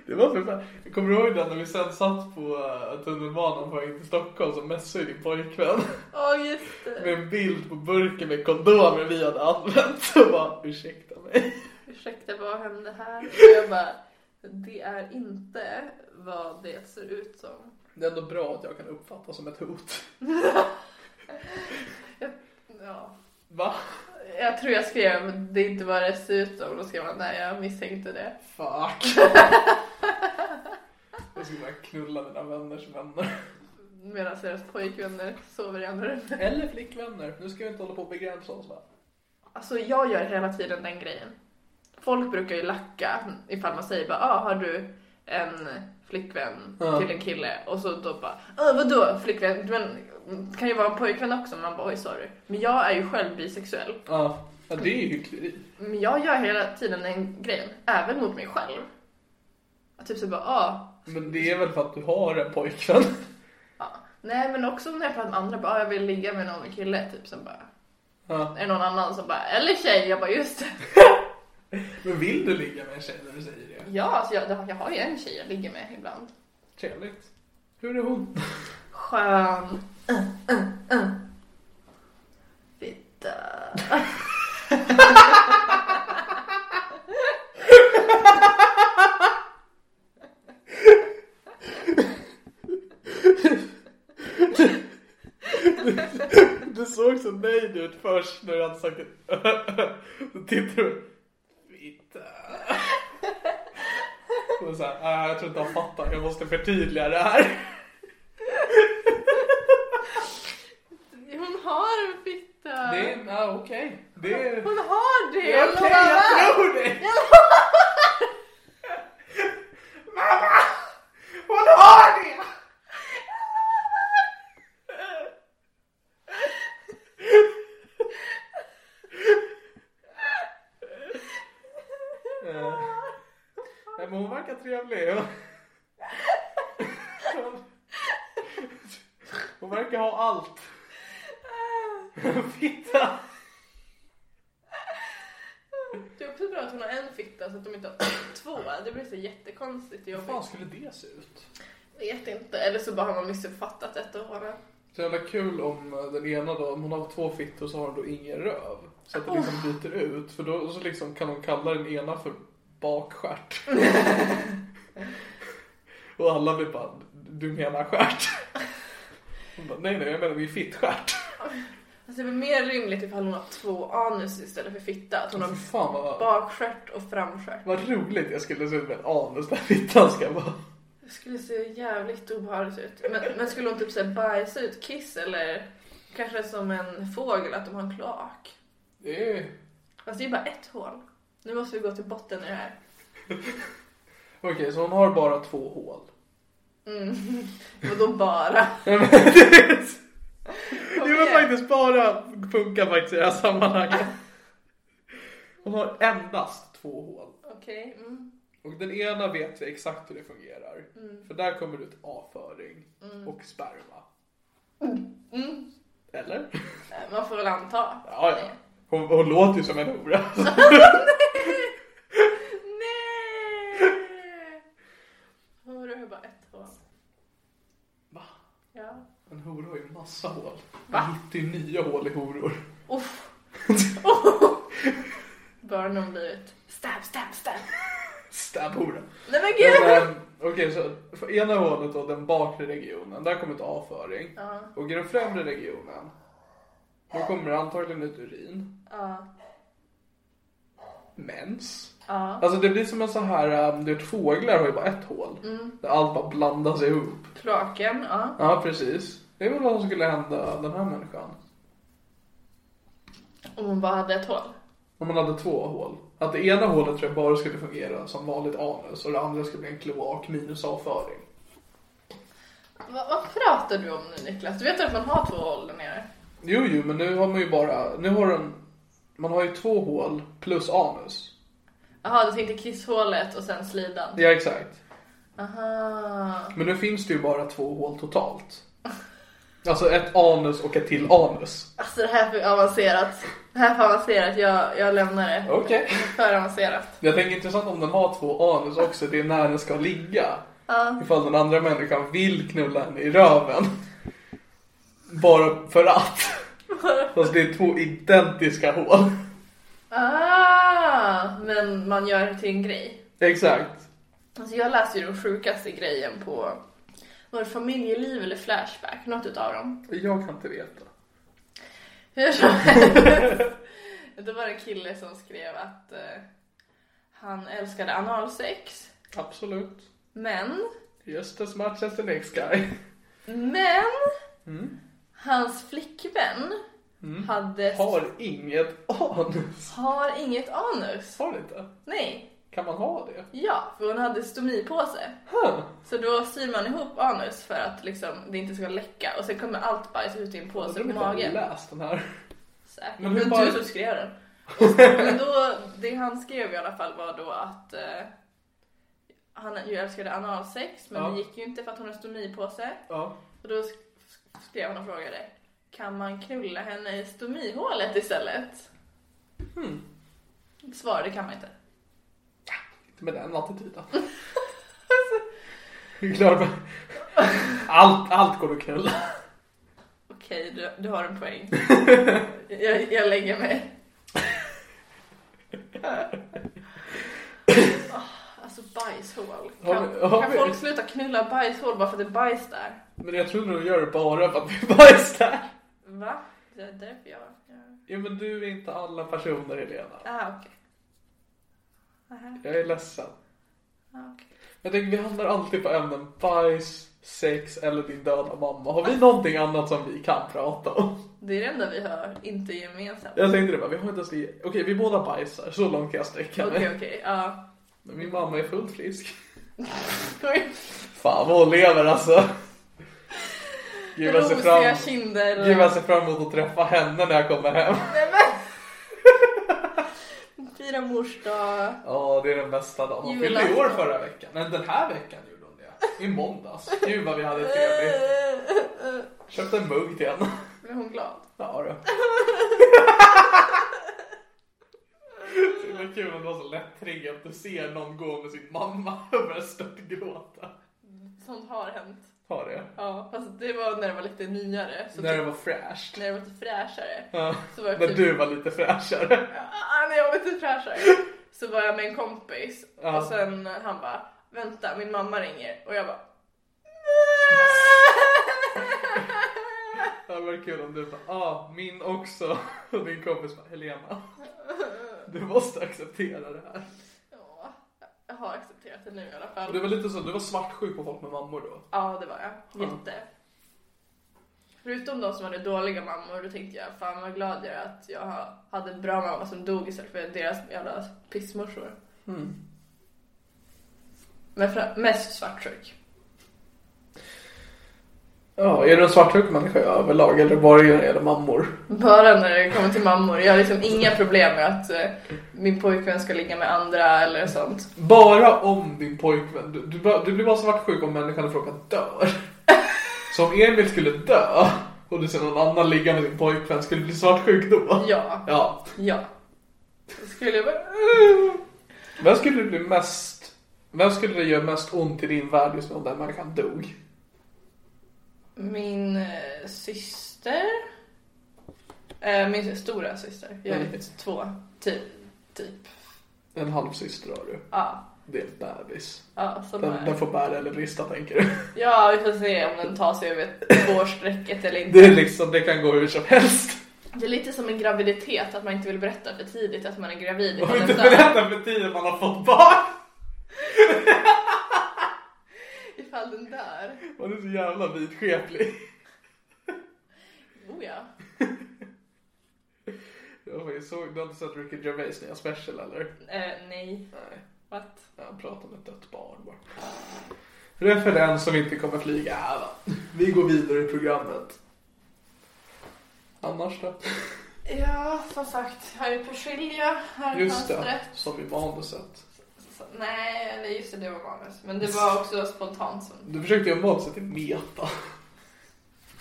[SPEAKER 3] Det var för fan. Jag kommer ihåg den när vi sen satt på eh, tunnelbanan på väg till Stockholm så messade din pojkvän.
[SPEAKER 4] Ja, just
[SPEAKER 3] med
[SPEAKER 4] det.
[SPEAKER 3] en bild på burken med kondomer vi hade använt. Så bara, ursäkta mig.
[SPEAKER 4] Ursäkta, vad hände här? Och jag bara, det är inte vad det ser ut som.
[SPEAKER 3] Det är ändå bra att jag kan uppfattas som ett hot.
[SPEAKER 4] Ja.
[SPEAKER 3] Va?
[SPEAKER 4] Jag tror jag skrev, det är inte vad det ser ut som. Då skrev man, nej jag misstänkte det.
[SPEAKER 3] Fuck. Jag skulle bara knulla mina vänners vänner.
[SPEAKER 4] Medan deras pojkvänner sover i andra rummet.
[SPEAKER 3] Eller flickvänner. Nu ska vi inte hålla på och begränsa oss va?
[SPEAKER 4] Alltså jag gör hela tiden den grejen. Folk brukar ju lacka ifall man säger bara, ah, har du en flickvän
[SPEAKER 3] Ja.
[SPEAKER 4] till en kille? Och så då bara, ah, vadå flickvän? Men det kan ju vara en pojkvän också. Man bara, oj sorry. Men jag är ju själv bisexuell.
[SPEAKER 3] Ja. Ja, det är ju hyckleri.
[SPEAKER 4] Men jag gör hela tiden den grejen, även mot mig själv. Att typ så bara, ah,
[SPEAKER 3] Men det är väl för att du har en pojkvän.
[SPEAKER 4] ja. Nej men också när jag pratar med andra, bara, ah, jag vill ligga med någon kille, typ som bara,
[SPEAKER 3] Ja.
[SPEAKER 4] är det någon annan som bara, eller tjej? Jag bara, just det.
[SPEAKER 3] Men vill du ligga med en tjej när du säger det?
[SPEAKER 4] Ja, alltså jag, jag har ju en tjej jag ligger med ibland.
[SPEAKER 3] Trevligt. Hur är hon?
[SPEAKER 4] Skön. Uh, uh, uh. Fitta.
[SPEAKER 3] Du såg så nöjd ut först när du hade sagt det. Då tittade du. Fitta. Och så här, "Ah, jag tror inte han fattar. Jag måste förtydliga det här.
[SPEAKER 4] Hon har en fitta.
[SPEAKER 3] Det är, ah, okej. Det är...
[SPEAKER 4] Hon har det!
[SPEAKER 3] Okej,
[SPEAKER 4] jag lovar.
[SPEAKER 3] jag tror dig! Mamma! Hon har det! Eh, Nej men hon verkar trevlig. Hon- Hon verkar ha allt. Fitta!
[SPEAKER 4] Det är också bra att hon har en fitta så att de inte har två. Det blir så jättekonstigt och
[SPEAKER 3] Hur fan
[SPEAKER 4] jobbigt.
[SPEAKER 3] skulle det se ut?
[SPEAKER 4] Vet inte. Eller så bara har man missuppfattat ett av våra.
[SPEAKER 3] Så jävla kul om den ena då, om hon har två fittor så har hon då ingen röv. Så att det liksom byter ut. För då så liksom kan hon kalla den ena för bakstjärt. Och alla blir bara, du menar stjärt? Hon bara, nej nej jag menar min fittstjärt.
[SPEAKER 4] Alltså det är väl mer rimligt ifall hon har två anus istället för fitta. Att hon har
[SPEAKER 3] Fy fan vad,
[SPEAKER 4] bakstjärt och framstjärt.
[SPEAKER 3] vad roligt jag skulle se ut med en anus där fittan ska vara.
[SPEAKER 4] Det skulle se jävligt obehagligt ut. Men, men skulle hon typ så här bajsa ut kiss eller kanske som en fågel att de har en kloak?
[SPEAKER 3] Det är,
[SPEAKER 4] Alltså det är bara ett hål. Nu måste vi gå till botten i det här.
[SPEAKER 3] okej så hon har bara två hål.
[SPEAKER 4] Och då Mm. bara.
[SPEAKER 3] Det var faktiskt bara funkar faktiskt i det här sammanhanget. Hon har endast två hål.
[SPEAKER 4] Okej. Mm.
[SPEAKER 3] Och den ena vet vi exakt hur det fungerar. För där kommer det ut avföring och sperma. Eller?
[SPEAKER 4] Eh, Man får väl anta.
[SPEAKER 3] Ja, ja. Hon, hon låter ju som en hora.
[SPEAKER 4] Nej! Hörru, jag har bara ett hål.
[SPEAKER 3] Va?
[SPEAKER 4] Ja.
[SPEAKER 3] En hora har ju massa hål. Va? Det är nya hål i horor.
[SPEAKER 4] Uff. Oh. Bara någon blivit stab, stab, stab.
[SPEAKER 3] Stab hora.
[SPEAKER 4] Nej men
[SPEAKER 3] Men,
[SPEAKER 4] gud!
[SPEAKER 3] ehm, Okej, så för ena hålet då, den bakre regionen, där kommer ett avföring. Och i den främre regionen, då kommer det antagligen ut urin.
[SPEAKER 4] Ja.
[SPEAKER 3] Mens.
[SPEAKER 4] Ja.
[SPEAKER 3] Alltså det blir som en sån här, ehm, du vet fåglar har ju bara ett hål.
[SPEAKER 4] Mm.
[SPEAKER 3] Där allt bara blandas ihop.
[SPEAKER 4] Kloaken, ja.
[SPEAKER 3] Ja, precis. Det är väl vad som skulle hända den här människan.
[SPEAKER 4] Om hon bara hade ett hål.
[SPEAKER 3] Om man hade två hål. Att det ena hålet tror jag bara skulle fungera som vanligt anus och det andra skulle bli en kloak minus avföring.
[SPEAKER 4] Va, vad pratar du om nu Niklas? Du vet att man har två hål där nere?
[SPEAKER 3] Jo, jo, men nu har man ju bara, nu har den, man har ju två hål plus anus.
[SPEAKER 4] Jaha, du tänkte kisshålet och sen slidan.
[SPEAKER 3] Ja, exakt.
[SPEAKER 4] Aha.
[SPEAKER 3] Men nu finns det ju bara två hål totalt. Alltså ett anus och ett till anus.
[SPEAKER 4] Alltså det här är för avancerat. Det här är för avancerat. Jag, jag lämnar det.
[SPEAKER 3] Okej.
[SPEAKER 4] För avancerat.
[SPEAKER 3] Jag tänker intressant om den har två anus också, det är när den ska ligga. Ifall den andra människan vill knulla henne i röven. Bara för att. Fast det är två identiska hål.
[SPEAKER 4] Ah, men man gör det till en grej.
[SPEAKER 3] Exakt.
[SPEAKER 4] Alltså jag läser ju den sjukaste grejen på var det familjeliv eller Flashback, något utav dem.
[SPEAKER 3] Jag kan inte veta.
[SPEAKER 4] Hur som helst. Det var en kille som skrev att eh, han älskade analsex,
[SPEAKER 3] Absolut.
[SPEAKER 4] men,
[SPEAKER 3] Just as much as the next guy.
[SPEAKER 4] men hans flickvän hade
[SPEAKER 3] Har inget anus.
[SPEAKER 4] har inget anus.
[SPEAKER 3] Har inte?
[SPEAKER 4] Nej,
[SPEAKER 3] Kan man ha det?
[SPEAKER 4] ja, för hon hade stomipåse.
[SPEAKER 3] Huh.
[SPEAKER 4] Så då syr man ihop anus för att liksom, det inte ska läcka och sen kommer allt bajs ut i en
[SPEAKER 3] Jag
[SPEAKER 4] påse
[SPEAKER 3] tror
[SPEAKER 4] på
[SPEAKER 3] inte jag har
[SPEAKER 4] magen.
[SPEAKER 3] läst den här.
[SPEAKER 4] Säkert.
[SPEAKER 3] Men
[SPEAKER 4] Men,
[SPEAKER 3] hur
[SPEAKER 4] men
[SPEAKER 3] bara-
[SPEAKER 4] du som skrev den. Och- Men då, det han skrev i alla fall var då att eh, han ju älskade analsex men
[SPEAKER 3] Ja.
[SPEAKER 4] det gick ju inte för att hon har stomipåse.
[SPEAKER 3] Ja.
[SPEAKER 4] Och då sk- skrev han och frågade kan man knulla henne i stomihålet istället? Hmm. Svar, det kan man inte.
[SPEAKER 3] Inte med den attityden. Det är klart. man- Allt, allt går att knulla.
[SPEAKER 4] Okej, du, du har en poäng. jag, jag lägger mig. Ah, Alltså bajshål. Kan,
[SPEAKER 3] Har vi- har
[SPEAKER 4] kan
[SPEAKER 3] vi-
[SPEAKER 4] folk sluta knulla bajshål bara för att det är bajs där?
[SPEAKER 3] Men jag tror nog de gör det bara för att det är bajs där.
[SPEAKER 4] Va? Det är därför jag... jag...
[SPEAKER 3] Ja, men du är inte alla personer, Helena.
[SPEAKER 4] Ah, okej. Aha,
[SPEAKER 3] Jag är ledsen.
[SPEAKER 4] ah, okej.
[SPEAKER 3] Jag tänker, vi hamnar alltid på ämnen bajs, sex eller din döda mamma. Har vi någonting annat som vi kan prata om?
[SPEAKER 4] Det är det enda vi har, inte gemensamt.
[SPEAKER 3] Jag tänkte det bara, vi har inte ens... Okej, vi båda bajsar. Så långt kan jag sträcka mig.
[SPEAKER 4] Okej, okej. Ja.
[SPEAKER 3] Men min mamma är fullt frisk.
[SPEAKER 4] Oj.
[SPEAKER 3] Fan vad hon lever alltså. Gud, jag ser
[SPEAKER 4] Rosiga
[SPEAKER 3] fram,
[SPEAKER 4] kinder.
[SPEAKER 3] Gud, jag ser fram emot att träffa henne när jag kommer hem.
[SPEAKER 4] Nej, men- Fira mors dag.
[SPEAKER 3] Ja, det är den bästa dagen. Hon fyllde i år förra veckan. Men den här veckan gjorde hon det. I måndags. Gud vad vi hade trevligt. Köpte en mugg till henne.
[SPEAKER 4] Blev hon glad?
[SPEAKER 3] Ja du. Det är kul att vara så lätt triggad att du ser någon gå med sin mamma och börjar störtgråta.
[SPEAKER 4] Sånt har hänt.
[SPEAKER 3] Har det?
[SPEAKER 4] Ja, fast det var när det var lite nyare. Så
[SPEAKER 3] När
[SPEAKER 4] typ,
[SPEAKER 3] det var fräscht.
[SPEAKER 4] när det var lite fräschare.
[SPEAKER 3] Ja.
[SPEAKER 4] Så var det
[SPEAKER 3] När
[SPEAKER 4] typ-
[SPEAKER 3] du var lite fräschare.
[SPEAKER 4] Ah, när jag var lite fräschare så var jag med en kompis
[SPEAKER 3] Ja.
[SPEAKER 4] och sen han bara vänta min mamma ringer och jag bara
[SPEAKER 3] Det hade varit kul om du bara, ah, min också. Och din kompis bara, Helena. Du måste acceptera det här.
[SPEAKER 4] Ja, jag har accepterat det nu i alla
[SPEAKER 3] Du
[SPEAKER 4] fall.
[SPEAKER 3] var lite så, du var svartsjuk på folk med mammor då.
[SPEAKER 4] Ja det var jag, jätte. Förutom de som hade dåliga mammor då tänkte jag fan vad glad jag är att jag ha- hade en bra mamma som dog istället för deras jävla pissmorsor.
[SPEAKER 3] Mm.
[SPEAKER 4] Men fra- mest svartsjuk.
[SPEAKER 3] Ja, är du en svartsjuk människa överlag eller bara när det gäller mammor?
[SPEAKER 4] Bara när det kommer till mammor. Jag har liksom inga problem med att eh, min pojkvän ska ligga med andra eller sånt.
[SPEAKER 3] Bara om din pojkvän, du, du, bara- du blir bara svartsjuk om människan i fråga dör. Så om Emil skulle dö och du ser någon annan ligga med din pojkvän, skulle du bli svartsjuk då?
[SPEAKER 4] Ja,
[SPEAKER 3] Ja.
[SPEAKER 4] ja. Då skulle jag bara...
[SPEAKER 3] Vem skulle du bli mest, vem skulle det göra mest ont i din värld just nu om den människan dog?
[SPEAKER 4] Min eh, syster. Eh, min stora syster. Jag är
[SPEAKER 3] Mm.
[SPEAKER 4] faktiskt två. Typ. Typ.
[SPEAKER 3] En halvsyster har du.
[SPEAKER 4] Ja.
[SPEAKER 3] Det är en bebis.
[SPEAKER 4] Ja, som
[SPEAKER 3] Den,
[SPEAKER 4] är.
[SPEAKER 3] den får bära eller brista tänker du.
[SPEAKER 4] ja, vi får se om den tar sig över tvåårsstrecket eller inte.
[SPEAKER 3] Det är liksom, det kan gå hur som helst.
[SPEAKER 4] Det är lite som en graviditet, att man inte vill berätta för tidigt att man är gravid.
[SPEAKER 3] Man
[SPEAKER 4] utan
[SPEAKER 3] vill inte
[SPEAKER 4] den dör.
[SPEAKER 3] berätta för tiden man har fått barn.
[SPEAKER 4] Ifall den dör.
[SPEAKER 3] Man är så jävla vidskeplig.
[SPEAKER 4] Oh ja.
[SPEAKER 3] Jag faktiskt såg, du har inte sett Ricky Gervais nya special eller?
[SPEAKER 4] Eh, nej.
[SPEAKER 3] Nej.
[SPEAKER 4] What?
[SPEAKER 3] Han pratar om ett dött barn bara. Referens som inte kommer flyga. Ja, va. Vi går vidare i programmet. Annars då?
[SPEAKER 4] Ja, som sagt. Här är Porsilja, här är
[SPEAKER 3] Just det,
[SPEAKER 4] fönstret.
[SPEAKER 3] som i manuset.
[SPEAKER 4] Så- Nej, eller just det, det var manus. Men det var också spontant. Så.
[SPEAKER 3] Du försökte göra manuset till meta.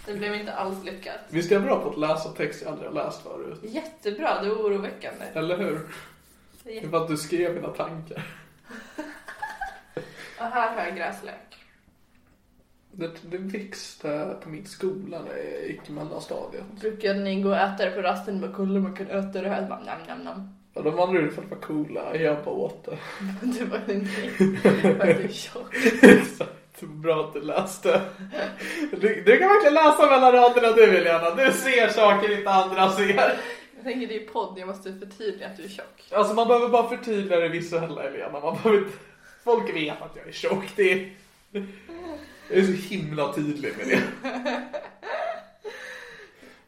[SPEAKER 4] Det blev inte alls lyckat.
[SPEAKER 3] Visst är jag bra på att läsa text jag aldrig har läst förut?
[SPEAKER 4] Jättebra, det var oroväckande.
[SPEAKER 3] Eller hur? Det är för att du skrev mina tankar.
[SPEAKER 4] Och här har jag gräslök.
[SPEAKER 3] Det, det växte på min skola när jag gick i mellanstadiet.
[SPEAKER 4] Brukade ni gå och äta det på rasten och bara kolla man kan äta det här? Jag Bara, nam, nam, nam.
[SPEAKER 3] Ja, de andra gjorde det för att vara coola. Jag bara åt det.
[SPEAKER 4] Det var inte för att du är tjock.
[SPEAKER 3] Exakt. Bra att du läste. Du, du kan verkligen läsa mellan raderna du Helena. Du ser saker inte andra ser.
[SPEAKER 4] Jag tänker det är podd, jag måste förtydliga att du är tjock.
[SPEAKER 3] Alltså man behöver bara förtydliga det visuella Helena. Man behöver inte... Folk vet att jag är tjock. Det är... Jag är så himla tydlig med det.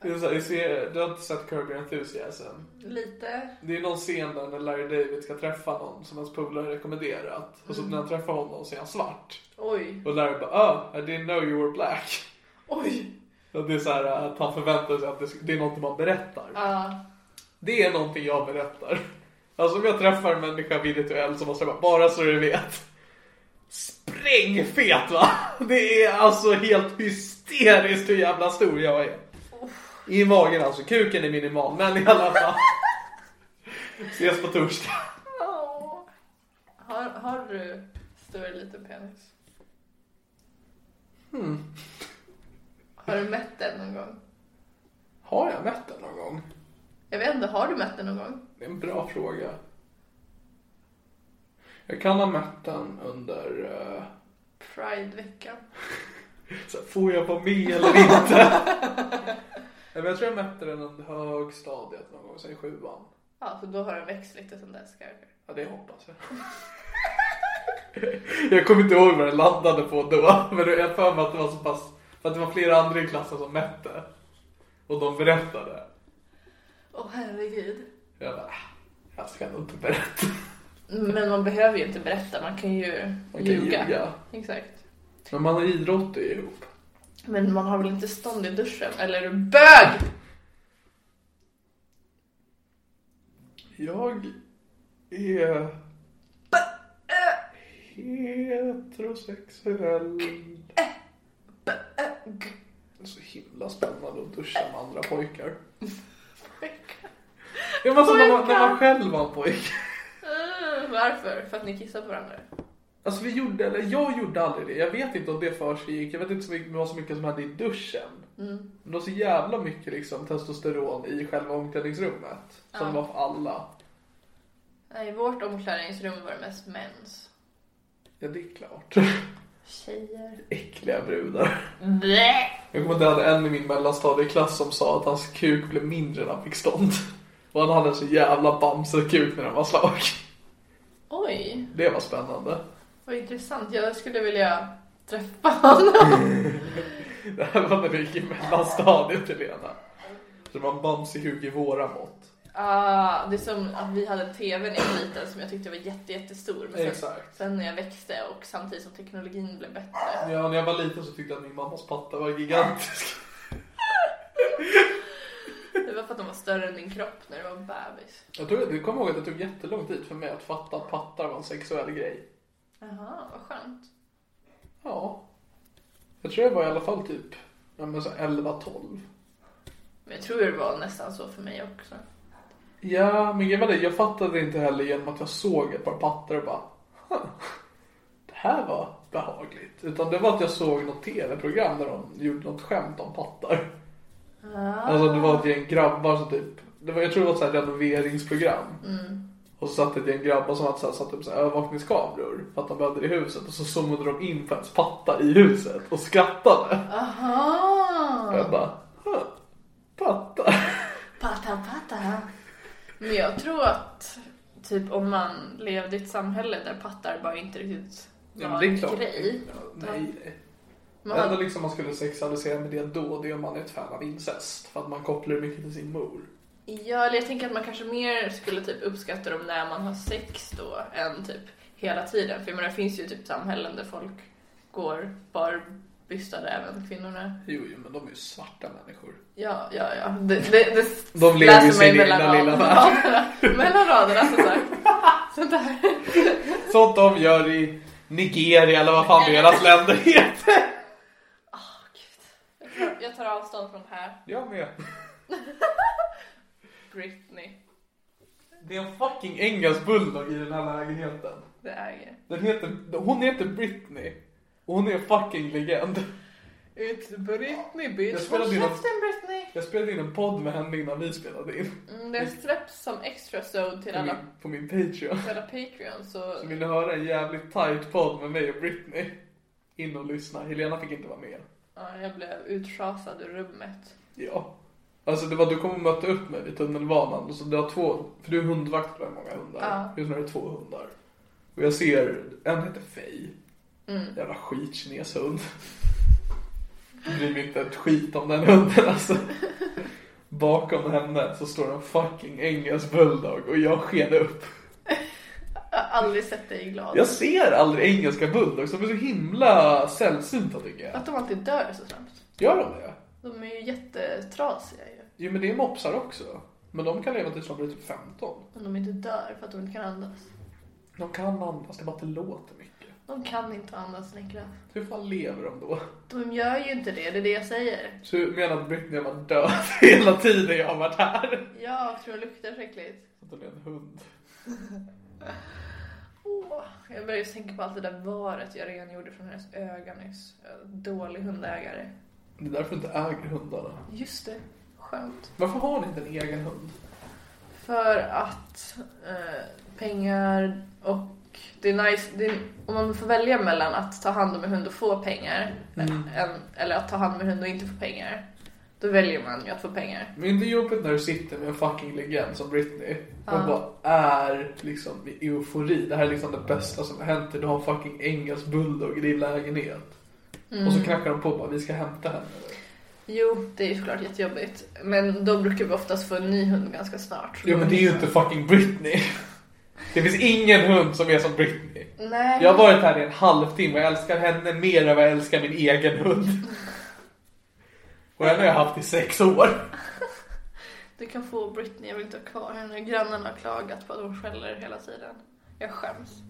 [SPEAKER 3] Det är så här, jag ser, du har inte sett Curb Your Enthusiasm?
[SPEAKER 4] Lite.
[SPEAKER 3] Det är någon scen där när Larry David ska träffa någon som hans polare rekommenderat. Och så när han träffar honom så är han svart.
[SPEAKER 4] Oj.
[SPEAKER 3] Och Larry bara ah, I didn't know you were black.
[SPEAKER 4] Oj.
[SPEAKER 3] Och det är så här att han förväntar sig att det, det är någonting man berättar.
[SPEAKER 4] Ja.
[SPEAKER 3] Det är någonting jag berättar. Alltså om jag träffar en människa virtuellt så måste jag bara, bara så du vet. Sprängfet va? Det är alltså helt hysteriskt hur jävla stor jag är. I magen alltså, kuken är minimal men i alla fall. Ses på torsdag.
[SPEAKER 4] Åh. Har, har du större liten penis?
[SPEAKER 3] Hmm.
[SPEAKER 4] Har du mätt den någon gång?
[SPEAKER 3] Har jag mätt den någon gång?
[SPEAKER 4] Jag vet inte, har du mätt den någon gång?
[SPEAKER 3] Det är en bra fråga. Jag kan ha mätt den under eh,
[SPEAKER 4] Prideveckan.
[SPEAKER 3] Så här, får jag vara med eller inte? men jag tror jag mätte den i högstadiet någon gång, sen i sjuan.
[SPEAKER 4] Ja, så då har den växt lite sen dess kanske.
[SPEAKER 3] Ja, det hoppas jag. jag kommer inte ihåg vad den landade på då, men jag har för mig att det var så pass... För att det var flera andra i klassen som mätte. Och de berättade.
[SPEAKER 4] Åh herregud.
[SPEAKER 3] Jag bara, "Ah, jag ska nog inte berätta.
[SPEAKER 4] Men man behöver ju inte berätta, man kan ju
[SPEAKER 3] Man kan
[SPEAKER 4] ljuga.
[SPEAKER 3] ljuga.
[SPEAKER 4] Exakt.
[SPEAKER 3] Men man idrottar ju ihop.
[SPEAKER 4] Men man har väl inte stånd i duschen? Eller är du bög?
[SPEAKER 3] Jag är heterosexuell. Det är så himla spännande att duscha med andra pojkar. Ja, men alltså, när, man, när man själv var en pojke.
[SPEAKER 4] Mm, varför? För att ni kissar på varandra?
[SPEAKER 3] Alltså vi gjorde, eller jag gjorde aldrig det. Jag vet inte om det försiggick. Jag vet inte så mycket, vad så mycket som hände i duschen. Men det var så jävla mycket liksom, testosteron i själva omklädningsrummet. Som var för alla.
[SPEAKER 4] Nej, i vårt omklädningsrum var det mest mens.
[SPEAKER 3] Ja det är klart.
[SPEAKER 4] Tjejer.
[SPEAKER 3] Äckliga brudar.
[SPEAKER 4] Blä!
[SPEAKER 3] Jag kommer ihåg att jag hade en i min mellanstadieklass som sa att hans kuk blev mindre när han fick stånd. Och han hade en så jävla bamsekuk när han var slag.
[SPEAKER 4] Oj,
[SPEAKER 3] Det var spännande.
[SPEAKER 4] vad intressant. Jag skulle vilja träffa
[SPEAKER 3] Mm.
[SPEAKER 4] honom.
[SPEAKER 3] Det här var när vi gick i mellanstadiet Helena. Så det var en bamsekuk i våra mått.
[SPEAKER 4] Ah, det är som att vi hade en TV när jag var liten som jag tyckte var jätte, jättestor. Men sen,
[SPEAKER 3] Exakt.
[SPEAKER 4] sen när jag växte och samtidigt som teknologin blev bättre.
[SPEAKER 3] Ja, när jag var liten så tyckte jag att min mammas patta var gigantisk.
[SPEAKER 4] Det var för att de var större än din kropp när du var bebis.
[SPEAKER 3] Jag tror, du kommer ihåg att det tog jättelång tid för mig att fatta att pattar var en sexuell grej.
[SPEAKER 4] Jaha, vad skönt.
[SPEAKER 3] Ja. Jag tror jag var i alla fall typ ja, men så 11-12.
[SPEAKER 4] Men jag tror det var nästan så för mig också.
[SPEAKER 3] Ja, men jag, vet, jag fattade inte heller genom att jag såg ett par pattar och bara "Huh, Det här var behagligt. Utan det var att jag såg något tv-program där de gjorde något skämt om pattar. Alltså det var ett gäng grabbar som typ, det var, jag tror det var ett så här renoveringsprogram. Och så satt ett gäng grabbar som hade så här, satt upp så här övervakningskameror för att de behövde det i huset. Och så zoomade de in på ens patta i huset och skrattade.
[SPEAKER 4] Aha! Ah.
[SPEAKER 3] Och jag bara, huh, patta.
[SPEAKER 4] Pata pata. Men jag tror att typ om man levde i ett samhälle där pattar bara inte riktigt var
[SPEAKER 3] Ja, men det är klart.
[SPEAKER 4] en grej.
[SPEAKER 3] Ja, nej, nej.
[SPEAKER 4] Man,
[SPEAKER 3] Det enda liksom man skulle sexualisera med det då, det är om man är ett fan av incest. För att man kopplar det mycket till sin mor.
[SPEAKER 4] Ja, eller jag tänker att man kanske mer skulle typ uppskatta dem när man har sex då än typ hela tiden. För jag menar, det finns ju typ samhällen där folk går barbystade, även kvinnorna.
[SPEAKER 3] Jo, jo men de är ju svarta människor.
[SPEAKER 4] Ja, ja, ja. Det, det, det
[SPEAKER 3] De lever
[SPEAKER 4] läser
[SPEAKER 3] ju
[SPEAKER 4] man
[SPEAKER 3] sin egna
[SPEAKER 4] mellan
[SPEAKER 3] lilla
[SPEAKER 4] raderna. mellan raderna, som sagt. Sånt där.
[SPEAKER 3] Sånt de gör i Nigeria eller vad fan deras länder heter.
[SPEAKER 4] Jag tar avstånd från det här.
[SPEAKER 3] Jag med.
[SPEAKER 4] Britney.
[SPEAKER 3] Det är en fucking engelsk bulldog i den här lägenheten.
[SPEAKER 4] Det äger.
[SPEAKER 3] Den heter, hon heter Britney. Och hon är en fucking legend.
[SPEAKER 4] It's Britney bitch.
[SPEAKER 3] Jag spelade
[SPEAKER 4] Håll
[SPEAKER 3] in en-
[SPEAKER 4] käften Britney.
[SPEAKER 3] Jag spelade in en podd med henne innan vi spelade in.
[SPEAKER 4] Mm, det släpps som extra sod till
[SPEAKER 3] På min,
[SPEAKER 4] alla,
[SPEAKER 3] på min Patreon.
[SPEAKER 4] till alla Patreon så
[SPEAKER 3] Så vill ni höra en jävligt tight podd med mig och Britney? In och lyssna. Helena fick inte vara med.
[SPEAKER 4] ja, jag blev utschasad ur rummet.
[SPEAKER 3] Ja. Alltså det var, du kommer möta upp mig vid tunnelbanan. Så du har två, för du är hundvakt på hur många hundar.
[SPEAKER 4] Ja.
[SPEAKER 3] Just nu är det två hundar. Och jag ser, en heter Fej. Jävla skitkines-hund. Jag bryr mig inte ett skit om den hunden alltså. Bakom henne så står en fucking engelsk bulldog och jag sken upp.
[SPEAKER 4] Jag har aldrig sett dig glad.
[SPEAKER 3] Jag ser aldrig engelska bulldogs, de är så himla sällsynta tycker jag.
[SPEAKER 4] Att de alltid dör så snabbt.
[SPEAKER 3] Gör de det?
[SPEAKER 4] De är ju jättetrasiga ju.
[SPEAKER 3] Jo men det är mopsar också. Men de kan leva tills de blir typ 15.
[SPEAKER 4] Men de inte dör för att de inte kan andas.
[SPEAKER 3] De kan andas, det är bara att det låter mycket.
[SPEAKER 4] De kan inte andas Niklas.
[SPEAKER 3] Hur fan lever de då?
[SPEAKER 4] De gör ju inte det, det är det jag säger.
[SPEAKER 3] Så du menar att Britney har varit död hela tiden jag har varit här?
[SPEAKER 4] Ja, för de luktar så äckligt.
[SPEAKER 3] Att hon är en hund.
[SPEAKER 4] Åh, jag börjar ju tänka på allt det där varet jag rengjorde från hennes öga nyss. Jag är en Dålig hundägare.
[SPEAKER 3] Det är därför du inte äger hundarna.
[SPEAKER 4] Just det, skönt.
[SPEAKER 3] Varför har ni inte en egen hund?
[SPEAKER 4] För att eh, pengar och det är nice, det är, om man får välja mellan att ta hand om en hund och få pengar, än, eller att ta hand om en hund och inte få pengar, Då väljer man ju att få pengar.
[SPEAKER 3] Men det är jobbigt när du sitter med en fucking legend som Britney och bara är liksom i eufori. Det här är liksom det bästa som har hänt. Du har en fucking engelsk bulldog i din lägenhet. Och så knackar de på och bara vi ska hämta henne.
[SPEAKER 4] Jo, det är ju såklart jättejobbigt. Men då brukar vi oftast få en ny hund ganska snart.
[SPEAKER 3] Ja men det är ju inte fucking Britney. Det finns ingen hund som är som Britney.
[SPEAKER 4] Nej.
[SPEAKER 3] Jag har varit här i en halvtimme och jag älskar henne mer än vad jag älskar min egen hund. Och den har jag haft i sex år.
[SPEAKER 4] Du kan få Britney, jag vill inte ha kvar henne. Grannarna har klagat på att hon skäller hela tiden. Jag skäms.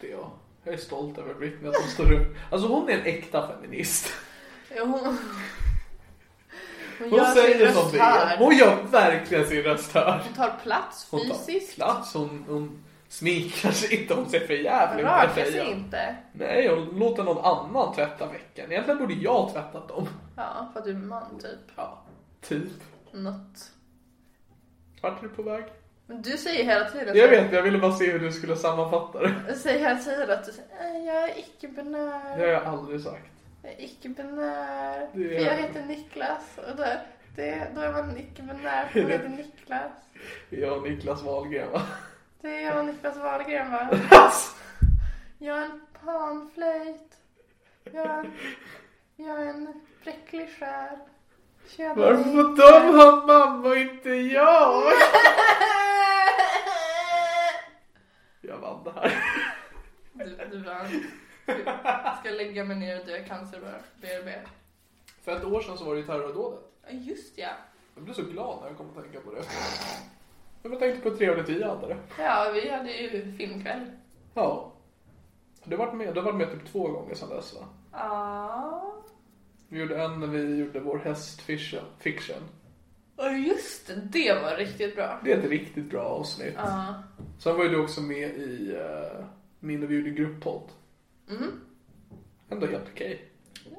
[SPEAKER 3] Det är jag. Jag är stolt över Britney att hon står upp. Alltså hon är en äkta feminist.
[SPEAKER 4] Ja, hon... Hon,
[SPEAKER 3] Hon
[SPEAKER 4] gör sin
[SPEAKER 3] säger
[SPEAKER 4] röst
[SPEAKER 3] som det är.
[SPEAKER 4] hörd. Hon
[SPEAKER 3] Hon gör verkligen sin röst hörd.
[SPEAKER 4] tar plats
[SPEAKER 3] Hon
[SPEAKER 4] fysiskt.
[SPEAKER 3] tar plats, hon, hon sminkar sig inte, hon ser för jävligt ut,
[SPEAKER 4] Rör
[SPEAKER 3] säger
[SPEAKER 4] sig
[SPEAKER 3] jag.
[SPEAKER 4] inte.
[SPEAKER 3] Nej, hon låter någon annan tvätta veckan. Egentligen borde jag tvätta dem.
[SPEAKER 4] Ja, för att du är man typ.
[SPEAKER 3] Ja, typ.
[SPEAKER 4] Något.
[SPEAKER 3] Vart är du på väg?
[SPEAKER 4] Men du säger hela tiden
[SPEAKER 3] Jag vet, jag ville bara se hur du skulle sammanfatta det.
[SPEAKER 4] Du säger hela tiden att du säger "Äh, jag är icke-binär.
[SPEAKER 3] Det har jag aldrig sagt.
[SPEAKER 4] Jag är icke-binär. För
[SPEAKER 3] Det är-
[SPEAKER 4] jag heter Niklas. Och då, det, då är man icke-binär för man heter Niklas.
[SPEAKER 3] Jag och Niklas Wahlgren va?
[SPEAKER 4] Det är jag och Niklas Wahlgren va? Jag är en panflöjt. Jag är, jag är en bräcklig själ. Köp
[SPEAKER 3] Varför
[SPEAKER 4] mig.
[SPEAKER 3] får de ha mamma och inte jag? Jag vann det här.
[SPEAKER 4] Du, du vann. Jag ska lägga mig ner och dö i cancer bara. BRB.
[SPEAKER 3] För ett år sedan så var det ju terrordådet.
[SPEAKER 4] Ja, Just ja.
[SPEAKER 3] Jag blev så glad när jag kom att tänka på det. Jag bara tänkte på hur trevligt vi hade det.
[SPEAKER 4] Ja, vi hade ju filmkväll.
[SPEAKER 3] Ja. Du har varit med, du har varit med typ två gånger sedan dess va?
[SPEAKER 4] Ja.
[SPEAKER 3] Vi gjorde en när vi gjorde vår häst fiction. fiction.
[SPEAKER 4] Och just det, det var riktigt bra.
[SPEAKER 3] Det är ett riktigt bra avsnitt.
[SPEAKER 4] Ja.
[SPEAKER 3] Sen var ju du också med i eh, min och vi gjorde grupppodd.
[SPEAKER 4] Mm.
[SPEAKER 3] Ändå helt okej.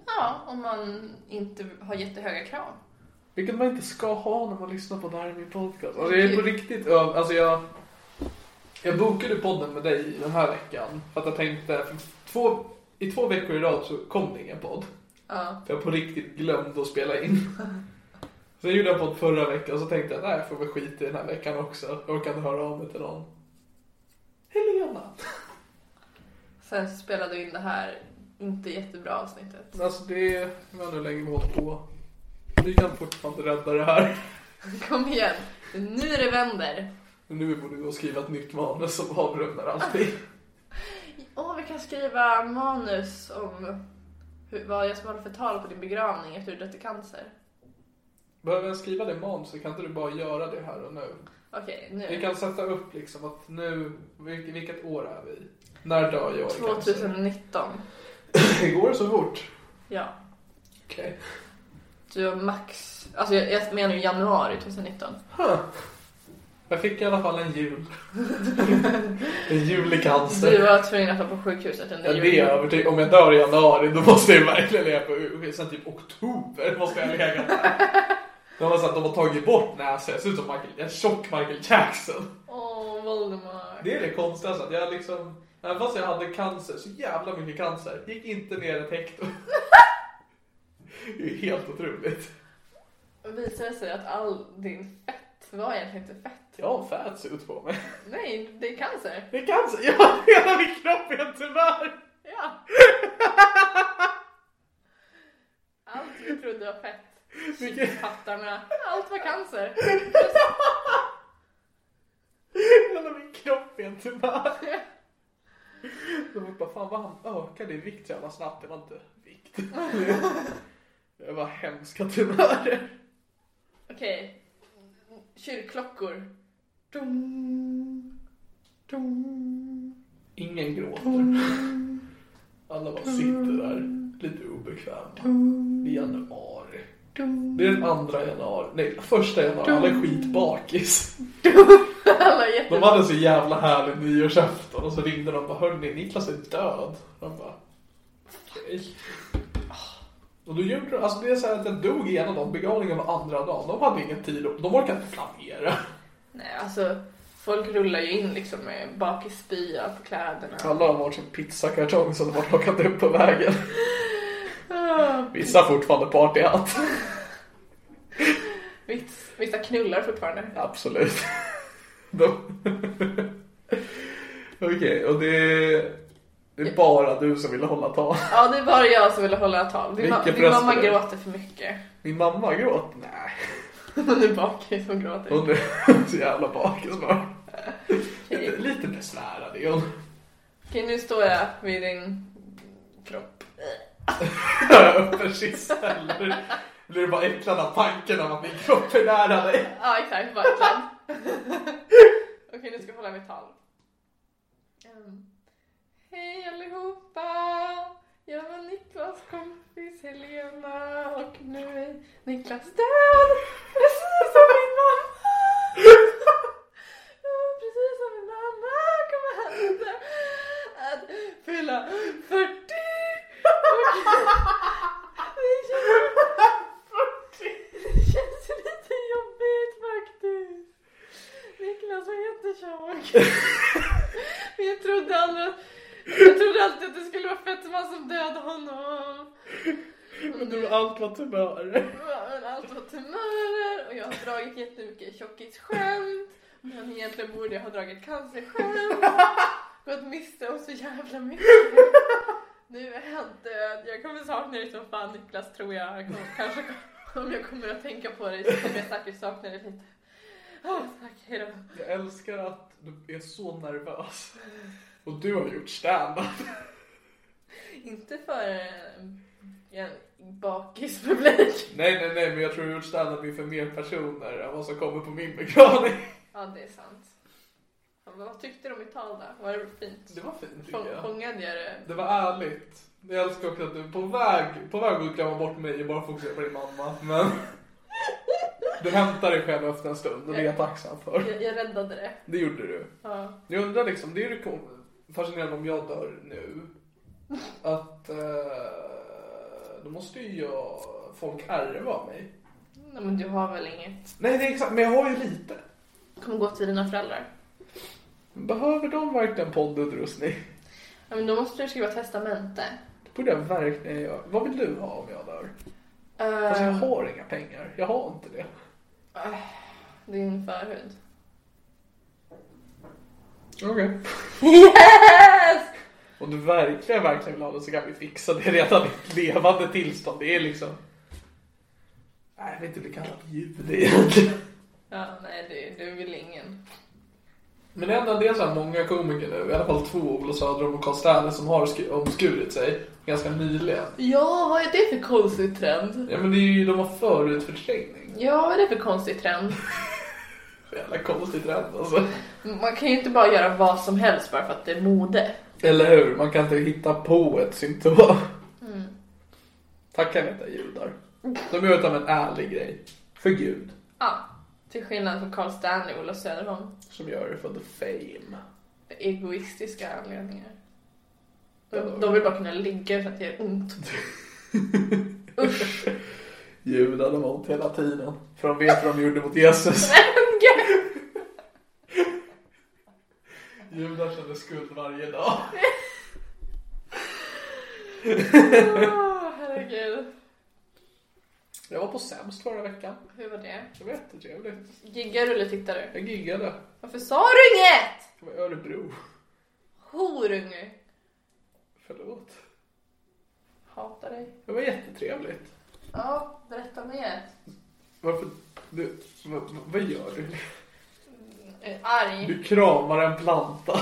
[SPEAKER 4] Ja, om man inte har jättehöga krav.
[SPEAKER 3] Vilket man inte ska ha när man lyssnar på det här i min podcast. Alltså jag är på riktigt öv... Alltså jag... Jag bokade podden med dig den här veckan. För att jag tänkte... För två, I två veckor i rad så kom det ingen podd.
[SPEAKER 4] Ja.
[SPEAKER 3] För jag på riktigt glömde att spela in. Sen gjorde jag podd förra veckan och så tänkte jag nej, jag får väl skita i den här veckan också. Jag orkar inte höra av mig till någon. Helena!
[SPEAKER 4] Sen spelade vi in det här inte jättebra avsnittet.
[SPEAKER 3] Alltså det... Jag vet inte hur länge vi har hållit på. Vi kan fortfarande rädda det här.
[SPEAKER 4] Kom igen, nu är det vänder.
[SPEAKER 3] Men nu borde vi gå och skriva ett nytt manus som avrundar allting.
[SPEAKER 4] Åh, vi kan skriva manus om hur, vad jag ska hålla för tal på din begravning efter du dött i cancer.
[SPEAKER 3] Behöver jag skriva det manus så kan inte du bara göra det här och nu?
[SPEAKER 4] Okej,
[SPEAKER 3] Vi
[SPEAKER 4] nu.
[SPEAKER 3] kan sätta upp liksom att nu, vilket, vilket år är vi? När dör jag? i cancer?
[SPEAKER 4] 2019.
[SPEAKER 3] Det går så fort.
[SPEAKER 4] Ja.
[SPEAKER 3] Okej.
[SPEAKER 4] Du har max... Alltså jag, jag menar ju januari 2019.
[SPEAKER 3] Huh. Jag fick i alla fall en jul. en jul i
[SPEAKER 4] Du
[SPEAKER 3] cancer.
[SPEAKER 4] var tvungen att vara på sjukhuset under
[SPEAKER 3] Alltså- Ja, det är jag övertygad om. Om jag dör i januari då måste jag verkligen leva på Sen typ oktober måste jag ha legat där. De har, sagt, de har tagit bort näsan. Jag ser ut som Michael, en tjock Michael Jackson.
[SPEAKER 4] Åh, Voldemort.
[SPEAKER 3] Det är det konstigaste, att jag liksom, även fast jag hade cancer, så jävla mycket cancer, gick inte ner ett hekto. Det är ju helt otroligt.
[SPEAKER 4] Visar det sig att all din fett var egentligen inte fett?
[SPEAKER 3] Jag har en fät ut på mig.
[SPEAKER 4] Nej, det är cancer.
[SPEAKER 3] Det är cancer, ja hela min kropp är tyvärr.
[SPEAKER 4] Ja. Allt vi trodde var fett.
[SPEAKER 3] Vilket-
[SPEAKER 4] Pattarna. Allt var cancer.
[SPEAKER 3] Hela min kropp är en tumör. Jag var bara, fan vad han ökade i vikt så jävla snabbt. Det var inte vikt. Det var hemska tumörer.
[SPEAKER 4] Okej. Kyrkklockor. Dum. Dum.
[SPEAKER 3] Ingen gråter.
[SPEAKER 4] Mm.
[SPEAKER 3] Alla bara sitter där, lite obekväma.
[SPEAKER 4] Mm.
[SPEAKER 3] Det är januari.
[SPEAKER 4] Dum.
[SPEAKER 3] Det är den andra januari, nej första januari, alla är skitbakis.
[SPEAKER 4] Mm. Alla är
[SPEAKER 3] De
[SPEAKER 4] jätte...
[SPEAKER 3] hade så jävla härlig nyårsafton och så ringde de och bara hörni Niklas är död. De bara okej. Och då gjorde de, alltså det är så här att den dog ena dagen, begravningen var andra dagen. De hade ingen tid, och- de orkade inte planera.
[SPEAKER 4] Nej, alltså. Folk rullar ju in liksom med bakisspya på kläderna.
[SPEAKER 3] Alla har varsin pizzakartong som de har plockat upp på vägen.
[SPEAKER 4] Ah,
[SPEAKER 3] Vissa har fortfarande partyhatt.
[SPEAKER 4] Vissa knullar fortfarande.
[SPEAKER 3] Absolut. De- Okej, och det är, det är bara du som vill hålla tal.
[SPEAKER 4] Ja, det är bara jag som ville hålla tal. Din, ma-
[SPEAKER 3] Vilket
[SPEAKER 4] din mamma
[SPEAKER 3] bröst är det?
[SPEAKER 4] gråter för mycket.
[SPEAKER 3] Min mamma gråt? Nej,
[SPEAKER 4] Hon är bakis, hon gråter.
[SPEAKER 3] hon är så jävla bakis bara. Lite,
[SPEAKER 4] Okej,
[SPEAKER 3] lite besvärad är hon.
[SPEAKER 4] Okej, nu står jag vid din kropp.
[SPEAKER 3] Precis, eller blir du bara äcklad av tanken om att min kropp är nära dig?
[SPEAKER 4] Ja, exakt. Bara klädd. Okej, nu ska jag hålla mitt tal. Ehm, Hej allihopa! Jag var Niklas kompis Helena och nu är Niklas död! Precis som min mamma! Ja, Precis som min mamma kommer hända att fylla 40! Och det känns- det känns lite jobbigt faktiskt. Niklas var jättetjock. Men jag trodde aldrig jag trodde alltid att det skulle vara fetman som dödade honom.
[SPEAKER 3] Men du allt vad tumörer.
[SPEAKER 4] Men allt var tumörer och jag har dragit jättemycket tjockisskämt. Men egentligen borde jag ha dragit cancerskämt. Gått miste om så jävla mycket. Nu är han död. Jag kommer sakna dig som fan Niklas tror jag. jag kommer, kanske om jag kommer att tänka på dig så kommer jag säkert sakna dig lite. Åh, tack, hejdå.
[SPEAKER 3] Jag älskar att du är så nervös. Och du har gjort stand-up.
[SPEAKER 4] Inte för en, en bakispublik.
[SPEAKER 3] Nej, nej, nej, men jag tror du har gjort stand-up inför mer personer än vad som kommer på min begravning.
[SPEAKER 4] Ja, det är sant. Ja, men vad tyckte du om mitt tal då? Var det fint?
[SPEAKER 3] Det var fint tycker
[SPEAKER 4] Fång,
[SPEAKER 3] jag.
[SPEAKER 4] fångade jag det?
[SPEAKER 3] Det var ärligt. Jag älskar också att du är på väg, på väg att glömma bort mig och bara fokusera på din mamma. Men du hämtar dig själv efter en stund och det är jag tacksam för.
[SPEAKER 4] Jag, jag räddade det.
[SPEAKER 3] Det gjorde du.
[SPEAKER 4] Ja.
[SPEAKER 3] Jag undrar liksom, det är ju kom- fascinerande om jag dör nu. Att eh, då måste ju jag, folk ärva mig.
[SPEAKER 4] Nej, men du har väl inget?
[SPEAKER 3] Nej, det är exakt, men jag har ju lite.
[SPEAKER 4] Kommer gå till dina föräldrar.
[SPEAKER 3] Behöver de verkligen poddutrustning?
[SPEAKER 4] Ja, men då måste du skriva testamente.
[SPEAKER 3] Det borde jag verkligen göra. eh, Vad vill du ha om jag dör? Alltså jag
[SPEAKER 4] Ehm,
[SPEAKER 3] har inga pengar. Jag har inte det.
[SPEAKER 4] Din förhud.
[SPEAKER 3] Okej.
[SPEAKER 4] Yes!
[SPEAKER 3] Om du verkligen, verkligen vill ha det så kan vi fixa det redan i ett levande tillstånd. Det är liksom... Nej, jag vet inte hur det kallas. Ljud egentligen.
[SPEAKER 4] Ja, nej, du, du vill ingen.
[SPEAKER 3] Men det enda det är så här många komiker nu, i alla fall två, Olof Söderholm och Karl Stanley, som har sku- omskurit sig ganska nyligen.
[SPEAKER 4] Ja, vad är det för konstig trend?
[SPEAKER 3] Ja men det är ju, de har förutförträngning.
[SPEAKER 4] Ja, vad är det för konstig trend?
[SPEAKER 3] Jävla konstig trend alltså.
[SPEAKER 4] Man kan ju inte bara göra vad som helst bara för att det är mode.
[SPEAKER 3] Eller hur? Man kan inte hitta på ett symptom. Tack kan vi inte judar. De gör utan en ärlig grej. För Gud.
[SPEAKER 4] Ja, till skillnad från Carl Stanley och Ola Söderholm.
[SPEAKER 3] Som gör det för the fame.
[SPEAKER 4] För egoistiska anledningar. De, de vill bara kunna ligga utan att det gör ont. Usch.
[SPEAKER 3] Judar de ont hela tiden. För de vet vad de gjorde mot Jesus.
[SPEAKER 4] Men gud.
[SPEAKER 3] Judar känner skuld varje dag.
[SPEAKER 4] Åh, Ah, herregud.
[SPEAKER 3] Jag var på sämst förra veckan.
[SPEAKER 4] Hur var det?
[SPEAKER 3] Det var jättetrevligt.
[SPEAKER 4] Giggar du eller tittar du?
[SPEAKER 3] Jag giggade.
[SPEAKER 4] Varför sa du inget?
[SPEAKER 3] Det var i Örebro.
[SPEAKER 4] Horunge.
[SPEAKER 3] Förlåt.
[SPEAKER 4] Hatar dig.
[SPEAKER 3] Det var jättetrevligt.
[SPEAKER 4] Ja, berätta mer.
[SPEAKER 3] Varför? Du, vad, vad gör du?
[SPEAKER 4] Jag är Eh, arg.
[SPEAKER 3] Du kramar en planta.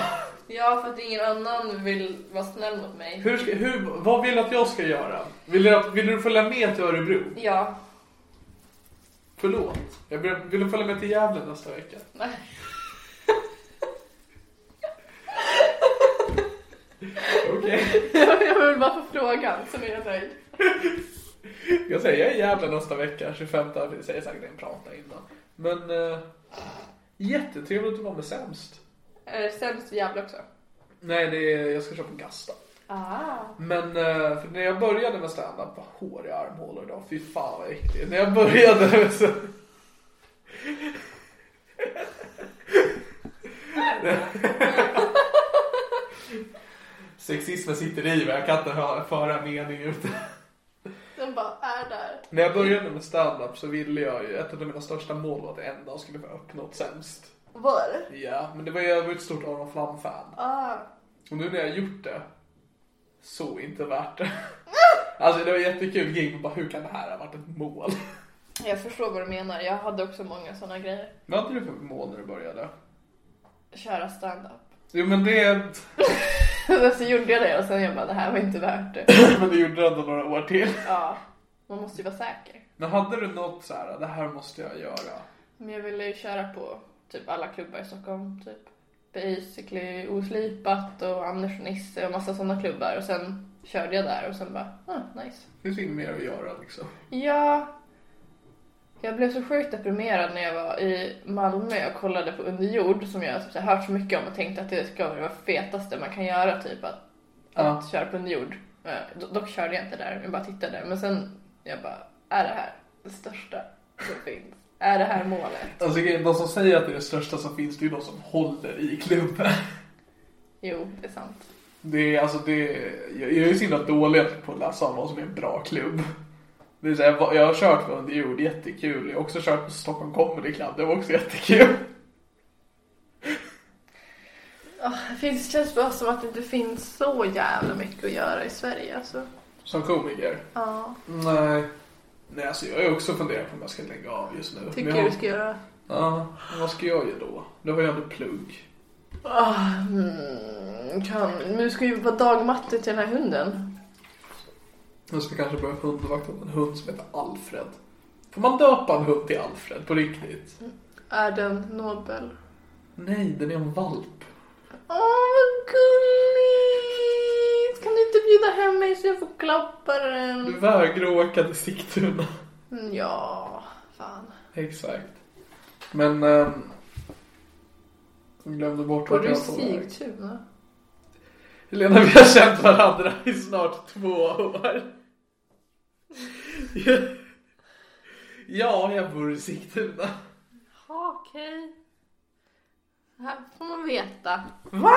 [SPEAKER 4] Ja, för att ingen annan vill vara snäll mot mig.
[SPEAKER 3] Hur ska, hur, vad vill du att jag ska göra? Vill du, att- vill du följa med till Örebro?
[SPEAKER 4] Ja.
[SPEAKER 3] Förlåt. Jag ber, vill du följa med till Gävle nästa vecka?
[SPEAKER 4] Nej.
[SPEAKER 3] Okej.
[SPEAKER 4] Jag vill bara få frågan, så är jag nöjd.
[SPEAKER 3] Jag säger jag är i Gävle nästa vecka, 25 april. Säger säkert en prata innan. Men eh, jättetrevligt att vara med sämst.
[SPEAKER 4] Är det Eh, sämst jävla också?
[SPEAKER 3] Nej, det är, jag ska köpa en Gasta.
[SPEAKER 4] Ah.
[SPEAKER 3] Men eh, för när jag började med standup, vad håriga armhålor idag. Fy fan vad äckligt. När jag började med så... Sexismen sitter i mig, jag kan inte hö- föra mening ut.
[SPEAKER 4] Det den bara är där.
[SPEAKER 3] När jag började med stand-up så ville jag ju, ett av mina största mål var att en dag skulle få öppna åt sämst.
[SPEAKER 4] Var?
[SPEAKER 3] Ja, men det var, jag var ett stort Aron Flam-fan.
[SPEAKER 4] Ah.
[SPEAKER 3] Och nu när jag gjort det, så inte värt det. Alltså det var jättekul gig, men bara hur kan det här ha varit ett mål?
[SPEAKER 4] Jag förstår vad du menar. Jag hade också många sådana grejer.
[SPEAKER 3] Vad hade du för mål när du började?
[SPEAKER 4] Köra stand-up.
[SPEAKER 3] Jo men det,
[SPEAKER 4] Sen så gjorde jag det och sen jag bara, det här var inte värt det.
[SPEAKER 3] men det gjorde du ändå några år till.
[SPEAKER 4] Ja, man måste ju vara säker.
[SPEAKER 3] Men hade du något så här, det här måste jag göra?
[SPEAKER 4] Men jag ville ju köra på typ alla klubbar i Stockholm. Typ Basically, Oslipat och Anders och Nisse och massa sådana klubbar. Och sen körde jag där och sen bara, ah, nice.
[SPEAKER 3] Finns inget mer att göra liksom.
[SPEAKER 4] Ja, jag blev så sjukt deprimerad när jag var i Malmö och kollade på Underjord som jag typ, så här hört så mycket om och tänkte att det ska vara det fetaste man kan göra typ att,
[SPEAKER 3] Ja.
[SPEAKER 4] att köra på Underjord. Eh, do- Dock körde jag inte där, jag bara tittade. Men sen jag bara, är det här det största som finns? Är det här målet?
[SPEAKER 3] Alltså grejen, de som säger att det är det största som finns, det är ju de som håller i klubben.
[SPEAKER 4] Jo, det är sant.
[SPEAKER 3] Det är alltså det, jag jag är ju så himla dålig på att läsa om vad som är en bra klubb. Det är så här, jag har kört på Under jord, jättekul. Jag har också kört på Stockholm Comedy Club, det var också jättekul.
[SPEAKER 4] Det känns bara som att det inte finns så jävla mycket att göra i Sverige. Alltså.
[SPEAKER 3] Som komiker.
[SPEAKER 4] Ja.
[SPEAKER 3] Nej. Nej, alltså jag har ju också funderat på om jag ska lägga av just nu.
[SPEAKER 4] Tycker
[SPEAKER 3] jag,
[SPEAKER 4] du ska göra?
[SPEAKER 3] Ja, men vad ska jag göra då? Då har jag ändå plugg.
[SPEAKER 4] Ah, Mm, kan. Men du ska ju vara dagmatte till den här hunden.
[SPEAKER 3] Jag ska kanske börja hundvakta åt en hund som heter Alfred. Får man döpa en hund till Alfred på riktigt?
[SPEAKER 4] Mm. Är den Nobel?
[SPEAKER 3] Nej, den är en valp.
[SPEAKER 4] Åh, vad gulligt! Kan du inte bjuda hem mig så jag får klappa
[SPEAKER 3] Du
[SPEAKER 4] den?
[SPEAKER 3] vägrar åka till Sigtuna.
[SPEAKER 4] Mm, Ja, fan.
[SPEAKER 3] Exakt. Men... ehm, jag glömde bort
[SPEAKER 4] Bor
[SPEAKER 3] vart
[SPEAKER 4] du i
[SPEAKER 3] jag var på väg.
[SPEAKER 4] Sigtuna?
[SPEAKER 3] Helena, vi har känt varandra i snart två år. Ja, jag bor i Sigtuna.
[SPEAKER 4] Ja, okej. Det här får man veta.
[SPEAKER 3] Va?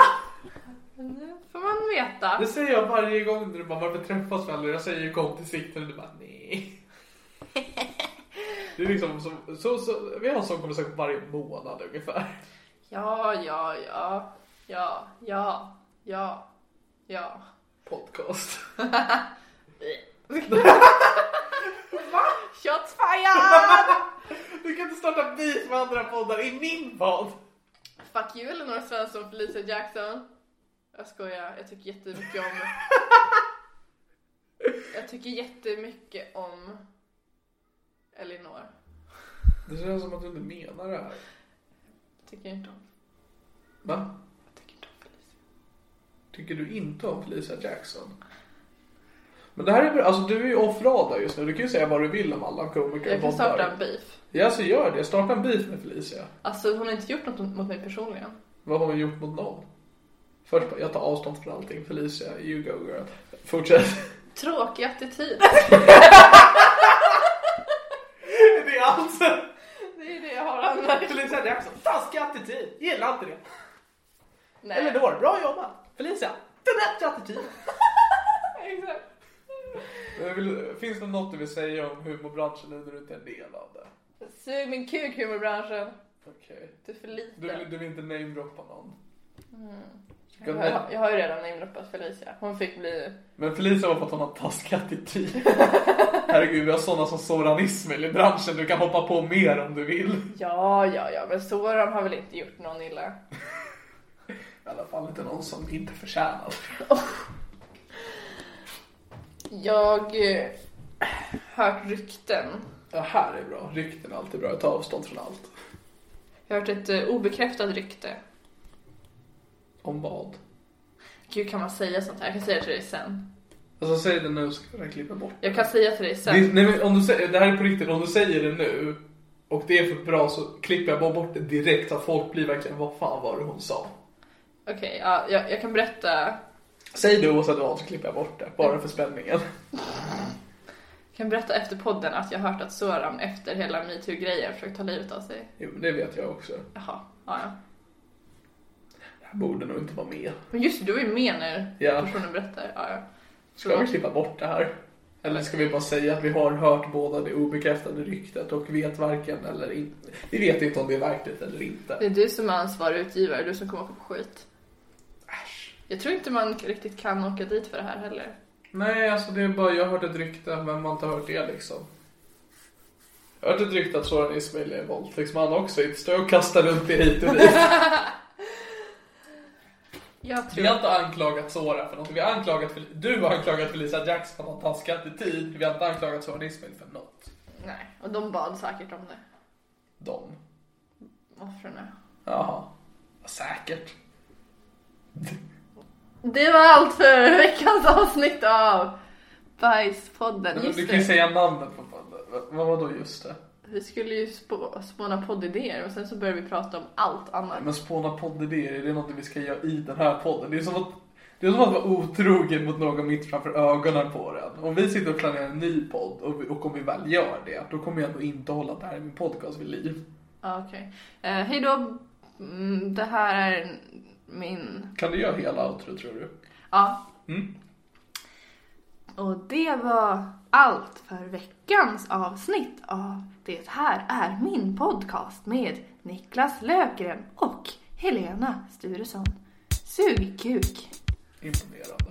[SPEAKER 4] Nu får man veta.
[SPEAKER 3] Det säger jag varje gång när du bara varför träffas vi aldrig? Jag säger ju kom till Sigtuna och du bara nej. Det är liksom som, så, så, vi har en sån konversation varje månad ungefär.
[SPEAKER 4] Ja, ja, ja, ja, ja, ja, ja.
[SPEAKER 3] Podcast.
[SPEAKER 4] Shots fired!
[SPEAKER 3] Du kan inte starta beef med andra poddar i min podd.
[SPEAKER 4] Fuck you Elinor Svensson och Felicia Jackson. Jag skojar, jag tycker jättemycket om... Jag tycker jättemycket om Elinor.
[SPEAKER 3] Det känns som att du inte menar det här.
[SPEAKER 4] Jag tycker inte om...
[SPEAKER 3] Va?
[SPEAKER 4] Jag tycker inte om Felicia.
[SPEAKER 3] Tycker du inte om Felicia Jackson? Men det här är bra. Alltså du är ju off-radar just nu. Du kan ju säga vad du vill om alla komiker
[SPEAKER 4] Jag
[SPEAKER 3] och
[SPEAKER 4] kan
[SPEAKER 3] poddar.
[SPEAKER 4] starta en beef.
[SPEAKER 3] Ja, så gör det. Starta en beef med Felicia.
[SPEAKER 4] Alltså hon har inte gjort något mot mig personligen.
[SPEAKER 3] Vad har hon gjort mot någon? Först bara, jag tar avstånd från allting. Felicia, you go girl. Fortsätt.
[SPEAKER 4] Tråkig attityd.
[SPEAKER 3] det är allt.
[SPEAKER 4] Det är det jag har anmärkt.
[SPEAKER 3] Felicia Jackson, taskig attityd. Gillar inte det.
[SPEAKER 4] Nej.
[SPEAKER 3] bra jobbat. Felicia, den rätta attityd.
[SPEAKER 4] Exakt.
[SPEAKER 3] Finns det något du vill säga om humorbranschen nu när du inte är en del av det?
[SPEAKER 4] Sug min kuk humorbranschen.
[SPEAKER 3] Okej.
[SPEAKER 4] Du är för liten.
[SPEAKER 3] Du, vill- du vill inte namedroppa någon?
[SPEAKER 4] Jag har, jag har ju redan namedroppat Felicia. Hon fick bli...
[SPEAKER 3] Men Felicia var för att hon har taskig attityd. Herregud, vi har sådana som Soran Ismail i branschen. Du kan hoppa på mer om du vill.
[SPEAKER 4] Ja, ja, ja, men Soran har väl inte gjort någon illa?
[SPEAKER 3] I alla fall inte någon som inte förtjänar.
[SPEAKER 4] Jag eh, hört rykten.
[SPEAKER 3] Det här är bra. Rykten är alltid bra. Jag tar avstånd från allt.
[SPEAKER 4] Jag har hört ett eh, obekräftat rykte.
[SPEAKER 3] Om vad?
[SPEAKER 4] Gud, kan man säga sånt här? Jag kan säga det till dig sen.
[SPEAKER 3] Alltså säg det nu så kan jag klippa bort
[SPEAKER 4] Jag kan säga till dig
[SPEAKER 3] det.
[SPEAKER 4] sen.
[SPEAKER 3] Nej, men om du säger, det här är på riktigt. Om du säger det nu och det är för bra så klipper jag bara bort det direkt så att folk blir verkligen vad fan var det hon sa?
[SPEAKER 4] Okej, ja, jag, jag kan berätta.
[SPEAKER 3] Säg det oavsett vad så klipper jag bort det. Bara för spänningen.
[SPEAKER 4] Jag kan berätta efter podden att jag har hört att Soran efter hela metoo-grejen försökt ta livet av sig.
[SPEAKER 3] Jo, men det vet jag också.
[SPEAKER 4] Jaha, ja, ja.
[SPEAKER 3] Det här borde nog inte vara med.
[SPEAKER 4] Men just det, du är med när
[SPEAKER 3] Ja.
[SPEAKER 4] personen berättar. Ja, ja.
[SPEAKER 3] Ska vi klippa bort det här? Eller ska vi bara säga att vi har hört båda det obekräftade ryktet och vet varken eller inte. Vi vet inte om det är verkligt eller
[SPEAKER 4] Det
[SPEAKER 3] inte.
[SPEAKER 4] är du som är ansvarig utgivare, du som kommer åka på skit.
[SPEAKER 3] Äsch.
[SPEAKER 4] Jag tror inte man riktigt kan åka dit för det här heller.
[SPEAKER 3] Nej, alltså det är bara jag hörde ett rykte, men man har inte hört det liksom. Jag har hört ett rykte att Soran Ismail är våldtäktsman också, inte står jag och kastar runt i hit och dit.
[SPEAKER 4] Jag
[SPEAKER 3] Vi har
[SPEAKER 4] tror...
[SPEAKER 3] inte anklagat Sora för något. Vi har anklagat för, du har anklagat Felicia Jackson för att ha taskig attityd. Vi har inte anklagat Soran Ismail för något.
[SPEAKER 4] Nej, och de bad säkert om det.
[SPEAKER 3] De.
[SPEAKER 4] Offren.
[SPEAKER 3] Jaha. Säkert.
[SPEAKER 4] Det var allt för veckans avsnitt av Bajspodden.
[SPEAKER 3] Du
[SPEAKER 4] Just
[SPEAKER 3] kan ju
[SPEAKER 4] det,
[SPEAKER 3] säga namnet på podden. Vad var då just det?
[SPEAKER 4] vi skulle ju spå, spåna poddidéer och sen så började vi prata om allt annat.
[SPEAKER 3] Men spåna poddidéer, är det något vi ska göra i den här podden? Det är som att, det är som att vara otrogen mot någon mitt framför ögonen på den. Om vi sitter och planerar en ny podd och, vi, och om vi väl gör det, då kommer jag ändå inte hålla det här i min podcast vid liv.
[SPEAKER 4] Ja, Okej. Okay. hej då. Mm, det här är min...
[SPEAKER 3] Kan du göra hela outro tror du?
[SPEAKER 4] Ja.
[SPEAKER 3] Mm.
[SPEAKER 4] Och det var allt för veckans avsnitt av Det här är min podcast med Niklas Löfgren och Helena Sturesson. Sug kuk!
[SPEAKER 3] Imponerande.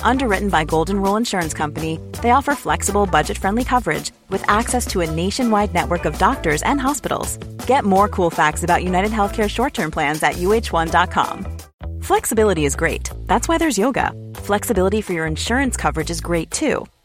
[SPEAKER 2] Underwritten by Golden Rule Insurance Company, they offer flexible, budget friendly coverage with access to a nationwide network of doctors and hospitals. Get more cool facts about United Healthcare short term plans at uh1.com. Flexibility is great. That's why there's yoga. Flexibility for your insurance coverage is great too.